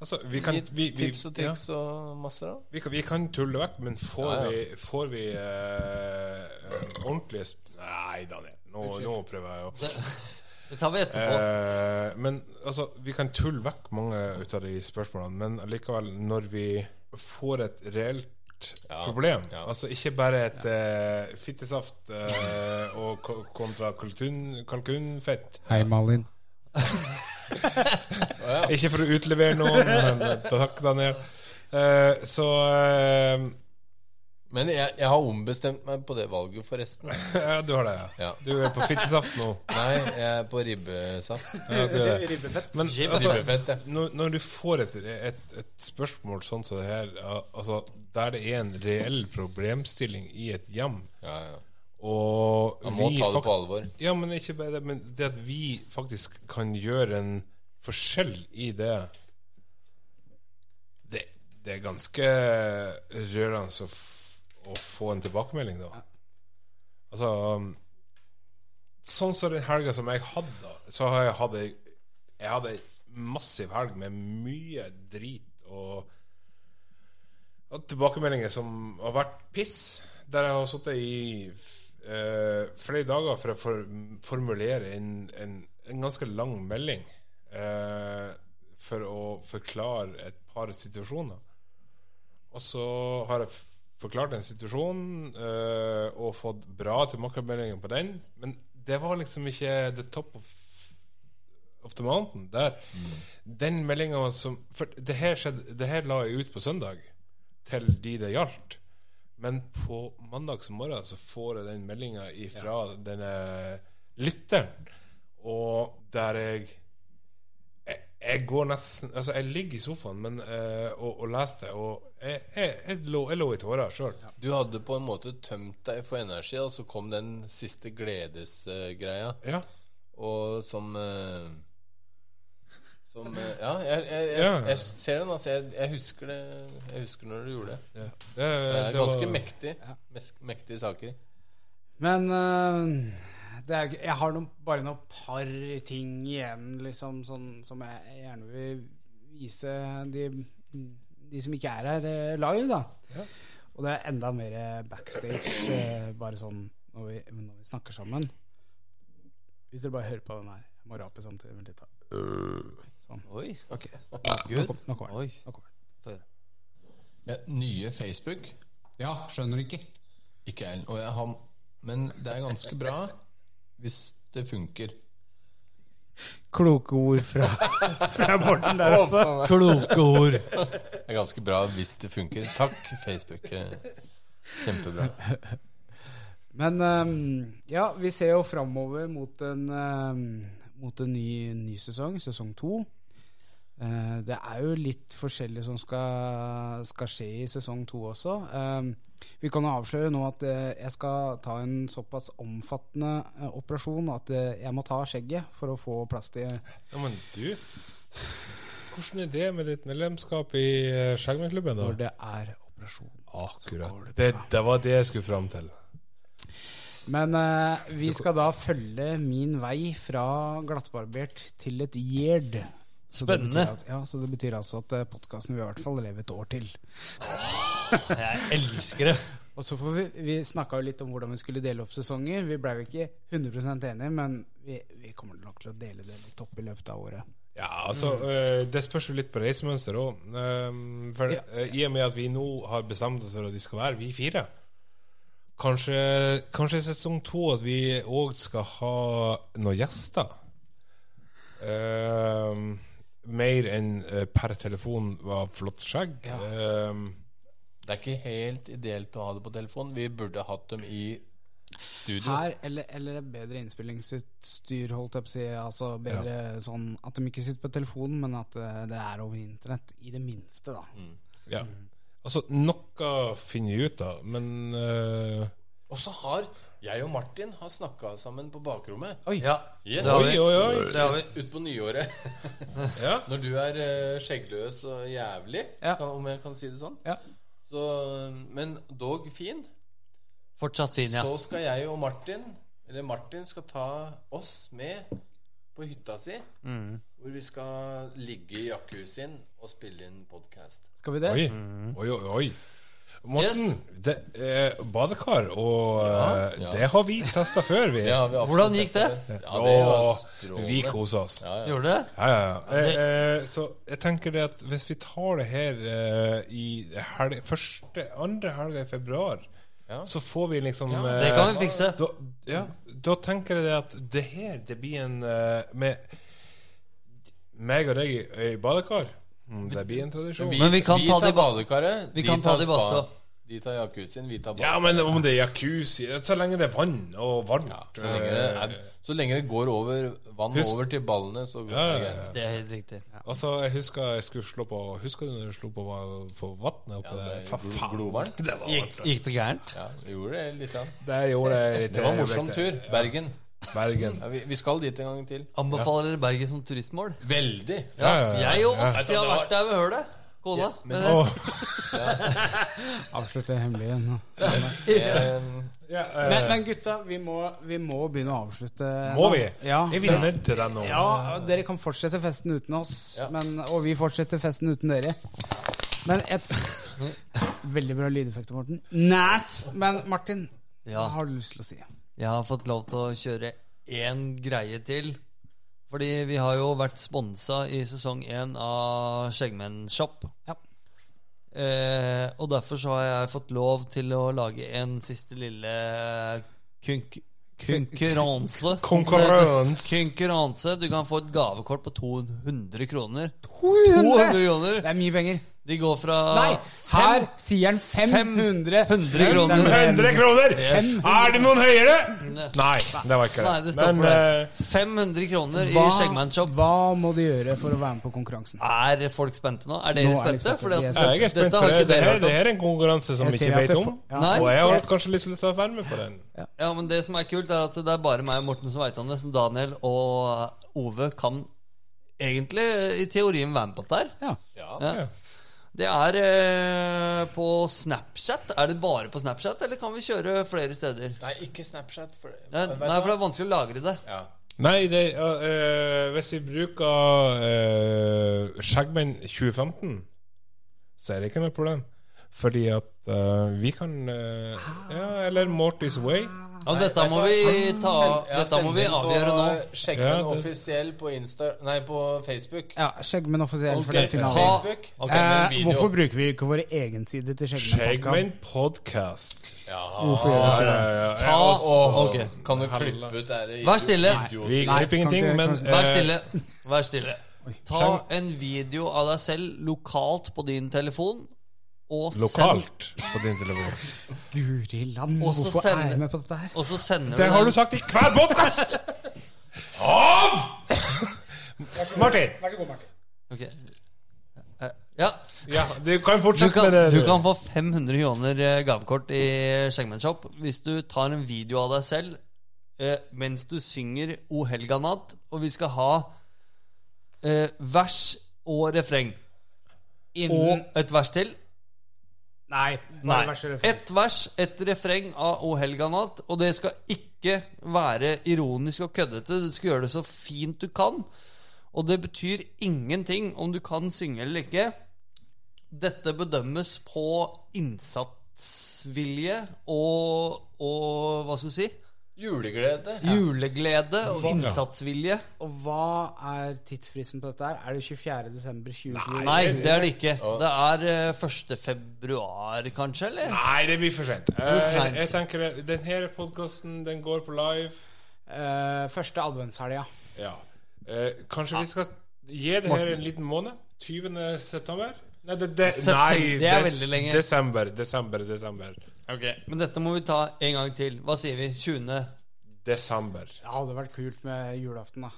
B: altså, vi kan,
C: Gi
B: vi, vi,
C: tips og
B: ja,
C: triks og masse, da.
B: vi, kan, vi kan tulle vekk, men får
C: Ja, ja.
B: vi, får vi eh, ordentlig sp Nei, Daniel. Nå, nå prøver jeg å
F: Det tar vi etterpå.
B: Eh, men altså, vi kan tulle vekk mange ut av de spørsmålene, men allikevel, når vi får et reelt problem Altså ikke bare et eh, fittesaft eh, og ko- kontra kalkun, kalkunfett.
D: Hei, Malin.
B: Ikke for å utlevere noen, men eh, takk, Daniel. Eh, så eh,
C: Men jeg, jeg har ombestemt meg på det valget, forresten.
B: ja, Du har det, ja.
C: Ja.
B: Du er på fittesaft nå.
C: Nei, jeg er på ribbesaft.
B: Ja, du er. Men
F: Jib-
B: altså,
C: Ribbefett, ja.
B: når, når du får et, et, et spørsmål sånn som det her, al- altså, der det er en reell problemstilling i et hjem
C: Ja, ja.
B: og
C: Man må
B: vi
C: ta det
B: fak-
C: på alvor.
B: Ja, men ikke bare det, men det at vi faktisk kan gjøre en forskjell i det Det, det er ganske rørende å, f å få en tilbakemelding, da. Altså um, Sånn som den helga som jeg hadde, da, så har jeg hatt ei Jeg hadde ei massiv helg med mye drit og og tilbakemeldinger som har vært piss, der jeg har sittet i eh, flere dager for å for, formulere en, en, en ganske lang melding eh, for å forklare et par situasjoner. Og så har jeg f- forklart en situasjon eh, og fått bra tilbakemeldinger på den, men det var liksom ikke the top of, of the mountain der. Den meldinga som For det her, skjedde, det her la jeg ut på søndag til de det gjaldt. Men på mandags morgen så får jeg den meldinga ifra denne lytteren, og der jeg jeg, jeg går nesten Altså, jeg ligger i sofaen men, eh, og, og leser det, og jeg, jeg, jeg, lå, jeg lå i tårer sjøl.
C: Du hadde på en måte tømt deg for energi, og så kom den siste gledesgreia.
B: Ja.
C: Og som eh, Som eh, Ja, jeg, jeg, jeg,
B: Ja.
C: jeg ser den. Altså, jeg, jeg husker det Jeg husker når du gjorde det.
B: Det,
C: Det er
B: det var-
C: ganske mektig. Mes- Mektige saker.
D: Men øh, det er, jeg har noen, bare noen par ting igjen liksom, sånn, som jeg gjerne vil vise de, de som ikke er her, eh, live. da Og det er enda mer backstage, eh, bare sånn når vi, når vi snakker sammen. Hvis dere bare hører på den her. Jeg må rape samtidig. Vent litt, da. Sånn.
F: Oi.
D: Ok. Nå
F: Gud.
D: kom- Nå kommer den.
F: Oi.
D: Nå kommer den.
C: Ja, nye Facebook
H: Ja, skjønner ikke.
C: Ikke jeg, og jeg har Men det er ganske bra hvis det funker.
D: Kloke ord fra, fra Morten der, altså.
F: Kloke ord.
C: Det er ganske bra hvis det funker. Takk, Facebook. eh, Kjempebra.
D: Men ehm, ja, vi ser jo framover mot en, ehm, mot en ny, ny sesong, sesong to. Eh, det er jo litt forskjellig som skal, skal skje i sesong to også. Ehm, vi kan jo avsløre nå at eh, jeg skal ta en såpass omfattende eh, operasjon at eh, jeg må ta av skjegget for å få plass til
B: Ja, men du Hvordan er det med ditt medlemskap i eh, Skjermklubben,
D: når
B: da?
D: det er operasjon.
B: Akkurat. Det, det var det jeg skulle fram til.
D: Men eh, vi skal da følge min vei fra glattbarbert til et gjerd. Så det
F: Spennende.
D: betyr At, ja, så det betyr altså at podkasten vil i hvert fall leve et år til.
F: Jeg elsker det.
D: Og så får vi, vi snakka jo litt om hvordan vi skulle dele opp sesonger. Vi blei jo ikke 100 enige, men vi, vi kommer nok til å dele det litt opp i løpet av året.
B: Ja, altså, eh, det spørs jo litt på reisemønster òg. for
D: Ja.
B: eh, i og med at vi nå har bestemt oss for at de skal være, vi fire Kanskje, kanskje i sesong to at vi òg skal ha noen gjester. Ehm, mer enn eh, per telefon var flott skjegg. Ehm,
C: Det er ikke helt ideelt å ha det på telefon. Vi burde hatt dem i studio.
D: Her, eller, eller et bedre innspillingsutstyr, holdt jeg på å si. Altså bedre sånn at de ikke sitter på telefonen, men at eh, det er over internett. I det minste, da.
F: Mm.
B: ja. Altså, noe finner vi ut av, men eh,
C: Og så har jeg og Martin har snakka sammen på bakrommet.
D: Oi.
F: Ja,
C: Yes.
F: det har
B: Oi,
F: vi.
B: oi, oi!
F: Det har vi.
C: Utpå nyåret.
B: Ja.
C: Når du er eh, skjeggløs og jævlig,
D: Ja.
C: kan, om jeg kan si det sånn.
D: Ja.
C: Så, men dog fin.
F: Fortsatt fin, ja.
C: Så skal jeg og Martin Eller Martin skal ta oss med på hytta si.
F: Mm.
C: Hvor vi skal ligge i jacuzzien og spille inn podkast.
D: Skal vi det?
B: Oi, oi, oi, oi. Morten, det, eh, badekar og eh,
C: Ja, ja.
B: Det har vi testa før, vi.
C: Ja, vi har
F: Hvordan
C: absolutt
F: gikk det?
C: testet Ja, det altså var
B: og
C: strålende.
B: vi koser oss. Ja,
F: Gjorde det?
B: ja, ja. Eh, eh, så jeg tenker det at hvis vi tar det her eh, i helg, første, andre helga i februar,
C: Ja.
B: så får vi liksom eh,
F: Det kan vi fikse.
B: da, ja, da tenker jeg det at det her det blir en eh, Med meg og deg i, i badekar, mm, det blir en tradisjon.
F: Men vi kan ta
C: tar
F: de ba-
C: badekaret.
F: vi
C: de
F: kan ta
C: tar
F: de i
C: spa.
F: badstua.
C: De tar jacuzzien, vi tar bad.
B: Ja, men om det er jacuzzi Så lenge det er vann og varmt
C: så, lenge det er, så lenge det går over vann
B: Husk-
C: over til ballene, så går det
B: ja,
C: greit.
F: Det er helt riktig.
B: Altså, jeg husker jeg skulle slå på Husker du når jeg slo på, på vannet oppe
C: det
B: der?
C: er
B: Fa
C: glo-
B: faen!
C: glovarmt.
B: Det var
F: Gikk, gikk det gærent?
C: Ja, vi gjorde det litt. Ja.
B: Det gjorde jeg
C: Det var en morsom tur. Bergen.
B: Bergen.
C: Ja, vi, vi skal dit en gang til.
F: Anbefaler dere Bergen som turistmål?
C: Veldig.
F: Ja,
B: ja, ja.
F: jeg og
C: Ja.
F: Åssi har vært der ved hølet. Kona. Eh,
C: Ja, men-
F: Men
B: Åh,
D: Avslutt det hemmelige nå.
C: Eh,
B: ja,
D: Men,
B: eh,
D: men gutta, vi må, vi må begynne å avslutte.
B: må
D: nå.
B: vi?
D: Ja,
B: Jeg
D: så-
B: vil ned til deg nå.
D: ja, dere kan fortsette festen uten oss,
C: Ja.
D: men, og vi fortsetter festen uten dere. Men et Veldig bra lydeffekter, Morten. Nært! Men Martin, hva
F: Ja.
D: har du lyst til å si?
F: Jeg har fått lov til å kjøre én greie til. Fordi vi har jo vært sponsa i sesong én av Skjeggmenn Shop.
D: Ja.
F: Eh, og derfor så har jeg fått lov til å lage en siste lille kunk... Konkurranse.
B: Konkurranse.
F: Konkurranse. Du kan få et gavekort på 200 kroner. 200
D: 200!
F: kroner!
D: Det er mye penger.
F: De går fra
D: Nei, her
F: fem-
D: sier han 500
F: 500 kroner.
B: 100 kroner! Er det noen høyere? Nei, det var ikke det.
F: Nei, det stopper
B: men, eh,
F: der. 500 kroner i
D: Hva,
F: Skjeggmenn Shop.
D: hva må de gjøre for å være med på konkurransen?
F: Er folk spente nå? Er
D: Nå
F: dere
D: er de
F: spente?
D: spente.
F: Fordi
D: De er
F: at,
B: ja, jeg er spent.
F: Dette
B: for
F: har
B: Det det
F: ikke dere
B: her,
F: hørt
B: det
F: om.
B: her er en konkurranse som
D: Jeg
B: ikke
D: sier at
B: vet
D: det-
B: om.
D: ja.
F: Nei.
B: Og jeg har kanskje lyst til å være med på den.
F: Ja, men Det som er kult, er at det er bare meg og Morten som veit om det. Så Daniel og Ove kan egentlig eh, i teorien være med på dette. her.
D: Ja.
F: Ja. Det er eh, på Snapchat. Er det bare på Snapchat, eller kan vi kjøre flere steder?
C: nei, ikke Snapchat. For,
F: Nei,
C: vet du
F: nei, for det
C: hva?
F: er vanskelig å lagre det.
C: ja.
B: Nei, det, ja, eh, hvis vi bruker eh, Skjeggmenn 2015, så er det ikke noe problem. Fordi at eh, vi kan eh, Ja, eller Morty's Way.
F: Ja, dette må
C: Nei,
F: vi,
C: vet du hva?
F: ta,
C: Send- ja,
F: dette må
C: send
F: vi
C: inn på,
F: avgjøre nå.
C: eh, Skjeggmenn
B: Ja, det-
C: offisiell på Insta Nei, på Facebook.
D: ja Skjeggmenn offisiell for
C: Offisiell
D: den
C: på
D: finalen.
C: Facebook.
D: Eh, hvorfor bruker vi ikke vår egen side til Skjeggmenn podcast?
B: Skjeggmenn podcast. Eh,
D: Hvorfor gjør
B: Ah,
D: vi ikke det?
F: Ta og
C: Og kan du klippe ut der i-
F: Vær stille.
C: idiot-
B: Vi
D: Nei,
B: klipper ingenting,
D: sant,
B: men
D: sant.
F: Vær
B: eh,
F: stille. Vær stille. Ta en video av deg selv lokalt på din telefon. Og send-
B: eh, lokalt på din telefon.
D: Guri land,
F: Og så
D: hvorfor
F: send-
D: er jeg med på dette her?
F: Og så sender vi
B: Det har
F: den-
B: du sagt i hver podkast! Av! Martin.
F: Ok. Eh, Ja,
B: Ja, du kan
F: du
B: fortsette
F: kan,
B: med det.
F: du kan få 500 kroner eh, gavekort i Skjeggmenn Shop hvis du tar en video av deg selv eh, mens du synger O helga natt, og vi skal ha eh, vers og refreng.
D: Innen,
F: Og et vers til.
D: Nei. Bare
F: Nei.
D: vær så refreng.
F: Et vers, et refreng av O helga natt. Og det skal ikke være ironisk og køddete. Du skal gjøre det så fint du kan. Og det betyr ingenting om du kan synge eller ikke. Dette bedømmes på innsatsvilje og, og hva skal du si?
C: Juleglede.
F: Juleglede og innsatsvilje.
D: Og hva er tidsfristen på dette her? Er det 24. desember 2020?
F: Nei, det er det ikke. Det er eh, 1. februar, kanskje? eller?
B: Nei, det blir for sent.
F: for
B: Jeg,
F: sent.
B: jeg tenker det, Den her podkasten, den går på live.
D: Eh, første adventshelga.
B: Ja. Eh, kanskje vi skal gi det her en liten måned? 20. september? Nei, det, det,
F: September,
B: nei
F: det er
B: des-
F: veldig lenge.
B: Desember, desember, desember.
F: Men dette må vi ta en gang til. Hva sier vi? 20.
B: Desember.
D: Det hadde vært kult med julaften, da.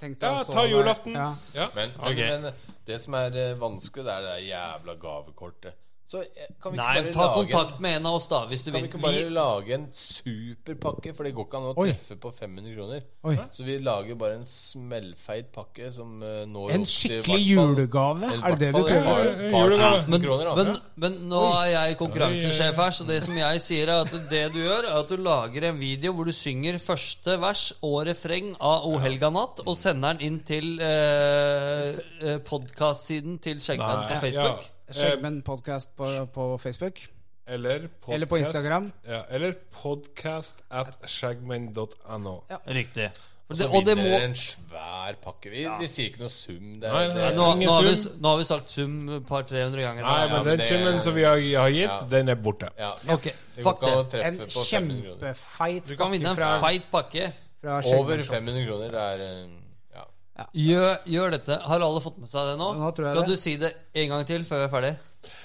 D: Tenk deg
B: Ja,
D: å stå
B: ta
D: der.
B: julaften.
D: Ja.
B: Ja.
C: Men, men, men det som er eh, vanskelig, det er det der jævla gavekortet. Så eh, kan vi
F: Nei,
C: ikke
F: ta
C: bare lage en,
F: kontakt med en av oss, da, hvis du
C: kan
F: vil.
C: vi ikke bare
F: Vi-
C: lage en superpakke? For det går ikke an å
H: Oi.
C: treffe på 500 kroner.
H: Oi.
C: Så vi lager bare en smellfeit pakke som eh, når
H: En
C: opp til i
H: skikkelig
C: hvert fall-
H: julegave?
C: eller i
H: Er det det
C: hvert
H: du
C: fall et
H: prøver å si?
C: par-
B: Eh,
C: par
B: julegave.
C: tusen
F: men,
C: kroner, altså.
F: men, men nå er jeg konkurransesjef her, så det som jeg sier, er at det du gjør, er at du lager en video hvor du synger første vers og refreng av O helga natt, og sender den inn til eh, podkast-siden til Skjeggmenn på
B: Nei,
F: Facebook.
D: Skjeggmenn podcast på, på Facebook.
B: Eh, Eller, podcast,
D: Eller på Instagram.
B: Ja, eller podcast at skjeggmenn.no.
F: Riktig.
C: Og
F: Det,
C: så
F: og det må
C: vinner en svær pakke. Vi, vi sier ikke noe sum. Det, er-
B: Nei,
C: det,
F: nå,
B: Ingen
F: nå, har vi,
B: sum.
F: nå har vi sagt sum et par-tre hundre ganger.
B: Nei, men
C: men
B: den
C: det-
B: summen som vi har, har gitt,
C: Ja.
B: den er borte.
C: ja,
F: Ok,
C: det går
F: fuck
C: ikke
F: det.
C: an å
D: En
C: treffe på 500 kroner.
D: kjempefeit
F: Du kan vinne
D: fra,
F: en feit pakke.
D: fra
C: Over
D: Skjeggmenn.
C: 500 kroner, det er eh, ja.
F: Gjør, gjør dette. Har alle fått med seg det nå?
D: Nå tror jeg
F: kan
D: det.
F: du si det en gang til før vi er ferdig?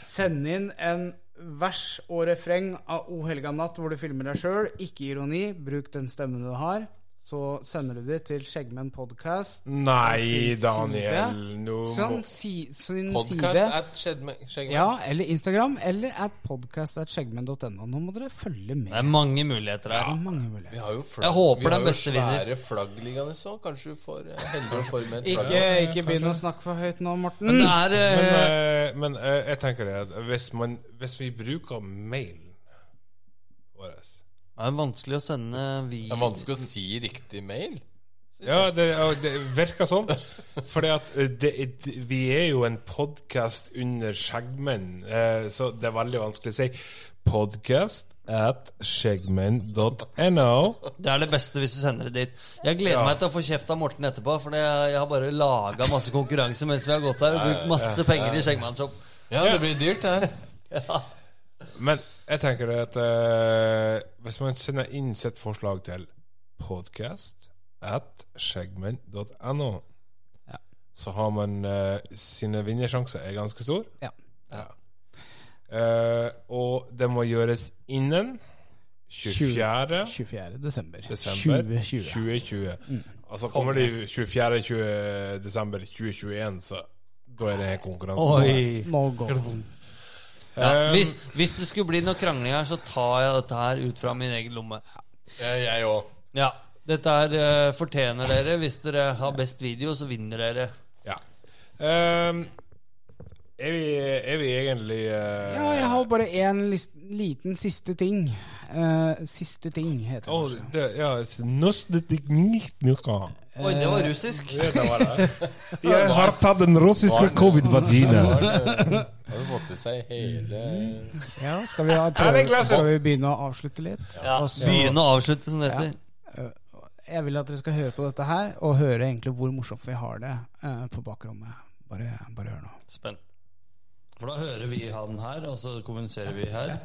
D: Send inn en vers og refreng av O helga natt hvor du filmer deg sjøl. Ikke ironi, bruk den stemmen du har. Så sender du det til Skjeggmenn podcast.
B: Nei,
D: Sin side.
B: Daniel, nå må
D: Sånn, si, sin
C: Podcast
D: side.
C: at Skjeggmenn. Skjeggmenn.
D: Ja, eller Instagram, eller at podcast.skjeggmenn.no. Nå må dere følge med.
F: Det er mange muligheter her.
D: Det er mange
C: Vi
D: muligheter.
C: har jo flagg,
F: Jeg håper
C: vi har
F: den
C: jo
F: beste vinner.
C: svære flagg liggende så. Kanskje du får eh, heldig å forme et flagg.
D: Ikke, ikke begynn å snakke for høyt nå, Morten.
F: Men det er
B: Men,
F: eh,
B: eh, men eh, jeg tenker det at hvis, man, hvis vi bruker mailen vår
F: Det er vanskelig å sende
C: Det er
F: video.
C: vanskelig å si riktig mail.
B: Ja, det, ja, det virker sånn. For det, det- vi er jo en podkast under skjeggmenn, eh, så det er veldig vanskelig å si. Podcast at skjeggmenn.no.
F: Det er det beste hvis du sender det dit. Jeg gleder meg til å få kjeft av Morten etterpå, for det, jeg har bare laga masse konkurranse mens vi har gått her og brukt masse penger i Skjeggmannshop.
C: Ja, det blir dyrt, det her.
B: Men jeg tenker det at eh, hvis man sender inn sitt forslag til podcast at skjeggmenn.no, så har man eh, sine vinnersjanser er ganske stor.
D: Ja.
B: Eh, og det må gjøres innen 24.
D: 24. desember.
B: desember
D: 2020.
B: 2020. Altså kommer det 24. 20. desember 2021, så da er det konkurransen.
F: Oi.
D: Nå går det.
F: Ja, hvis, hvis det skulle bli noe krangling her, så tar jeg dette her ut fra min egen lomme.
C: Jeg- Jeg òg.
F: Ja, Dette her eh, fortjener dere. Hvis dere har best video, så vinner dere.
B: Ja. Ehm, er, vi, er vi egentlig eh,
D: Ja, jeg har bare en lis- liten siste ting. Eh, siste ting heter det.
B: Å,
D: kanskje.
B: det, ja, it's neste teknikk nå.
F: Oi, det var russisk.
D: Eh,
B: Det var det. Jeg har tatt den russiske
C: Har
B: covid-vagina.
C: han, eh, har du fått i seg hele
D: Ja, skal vi, ha-
B: det er
D: prøve,
B: glasset.
D: skal vi begynne å avslutte litt?
F: Ja,
D: Og så-
F: Begynne å avslutte, som det heter.
D: Jeg vil at dere skal høre på dette her, og høre egentlig hvor morsomt vi har det eh, på bakrommet. Bare, bare hør nå.
F: Spent. For da hører vi han her, og så kommuniserer vi her.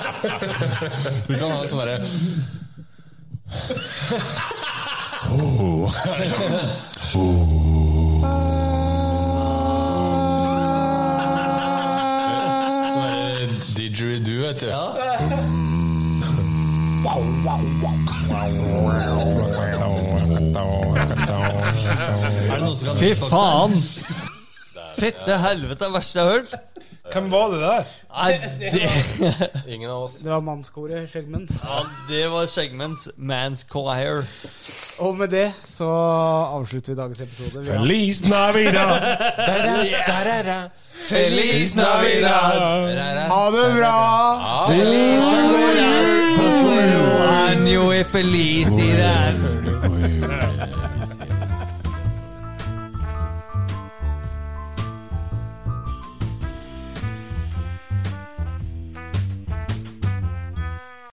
C: Du kan ha sånn derre Sånn derre didgeridoo, vet du.
F: Fy faen! Fette helvete, det verste jeg har hørt.
B: Hvem var det der?
F: Nei, det,
C: Ingen av oss.
D: Det var mannskoret, Skjeggmenn.
F: ja, det var Skjeggmenns Man's Choir.
D: Og med det så avslutter vi dagens episode. Vi har
B: Feliz Navidad!
F: Feliz Navidad!
D: ha det bra!
F: Año y felicidad.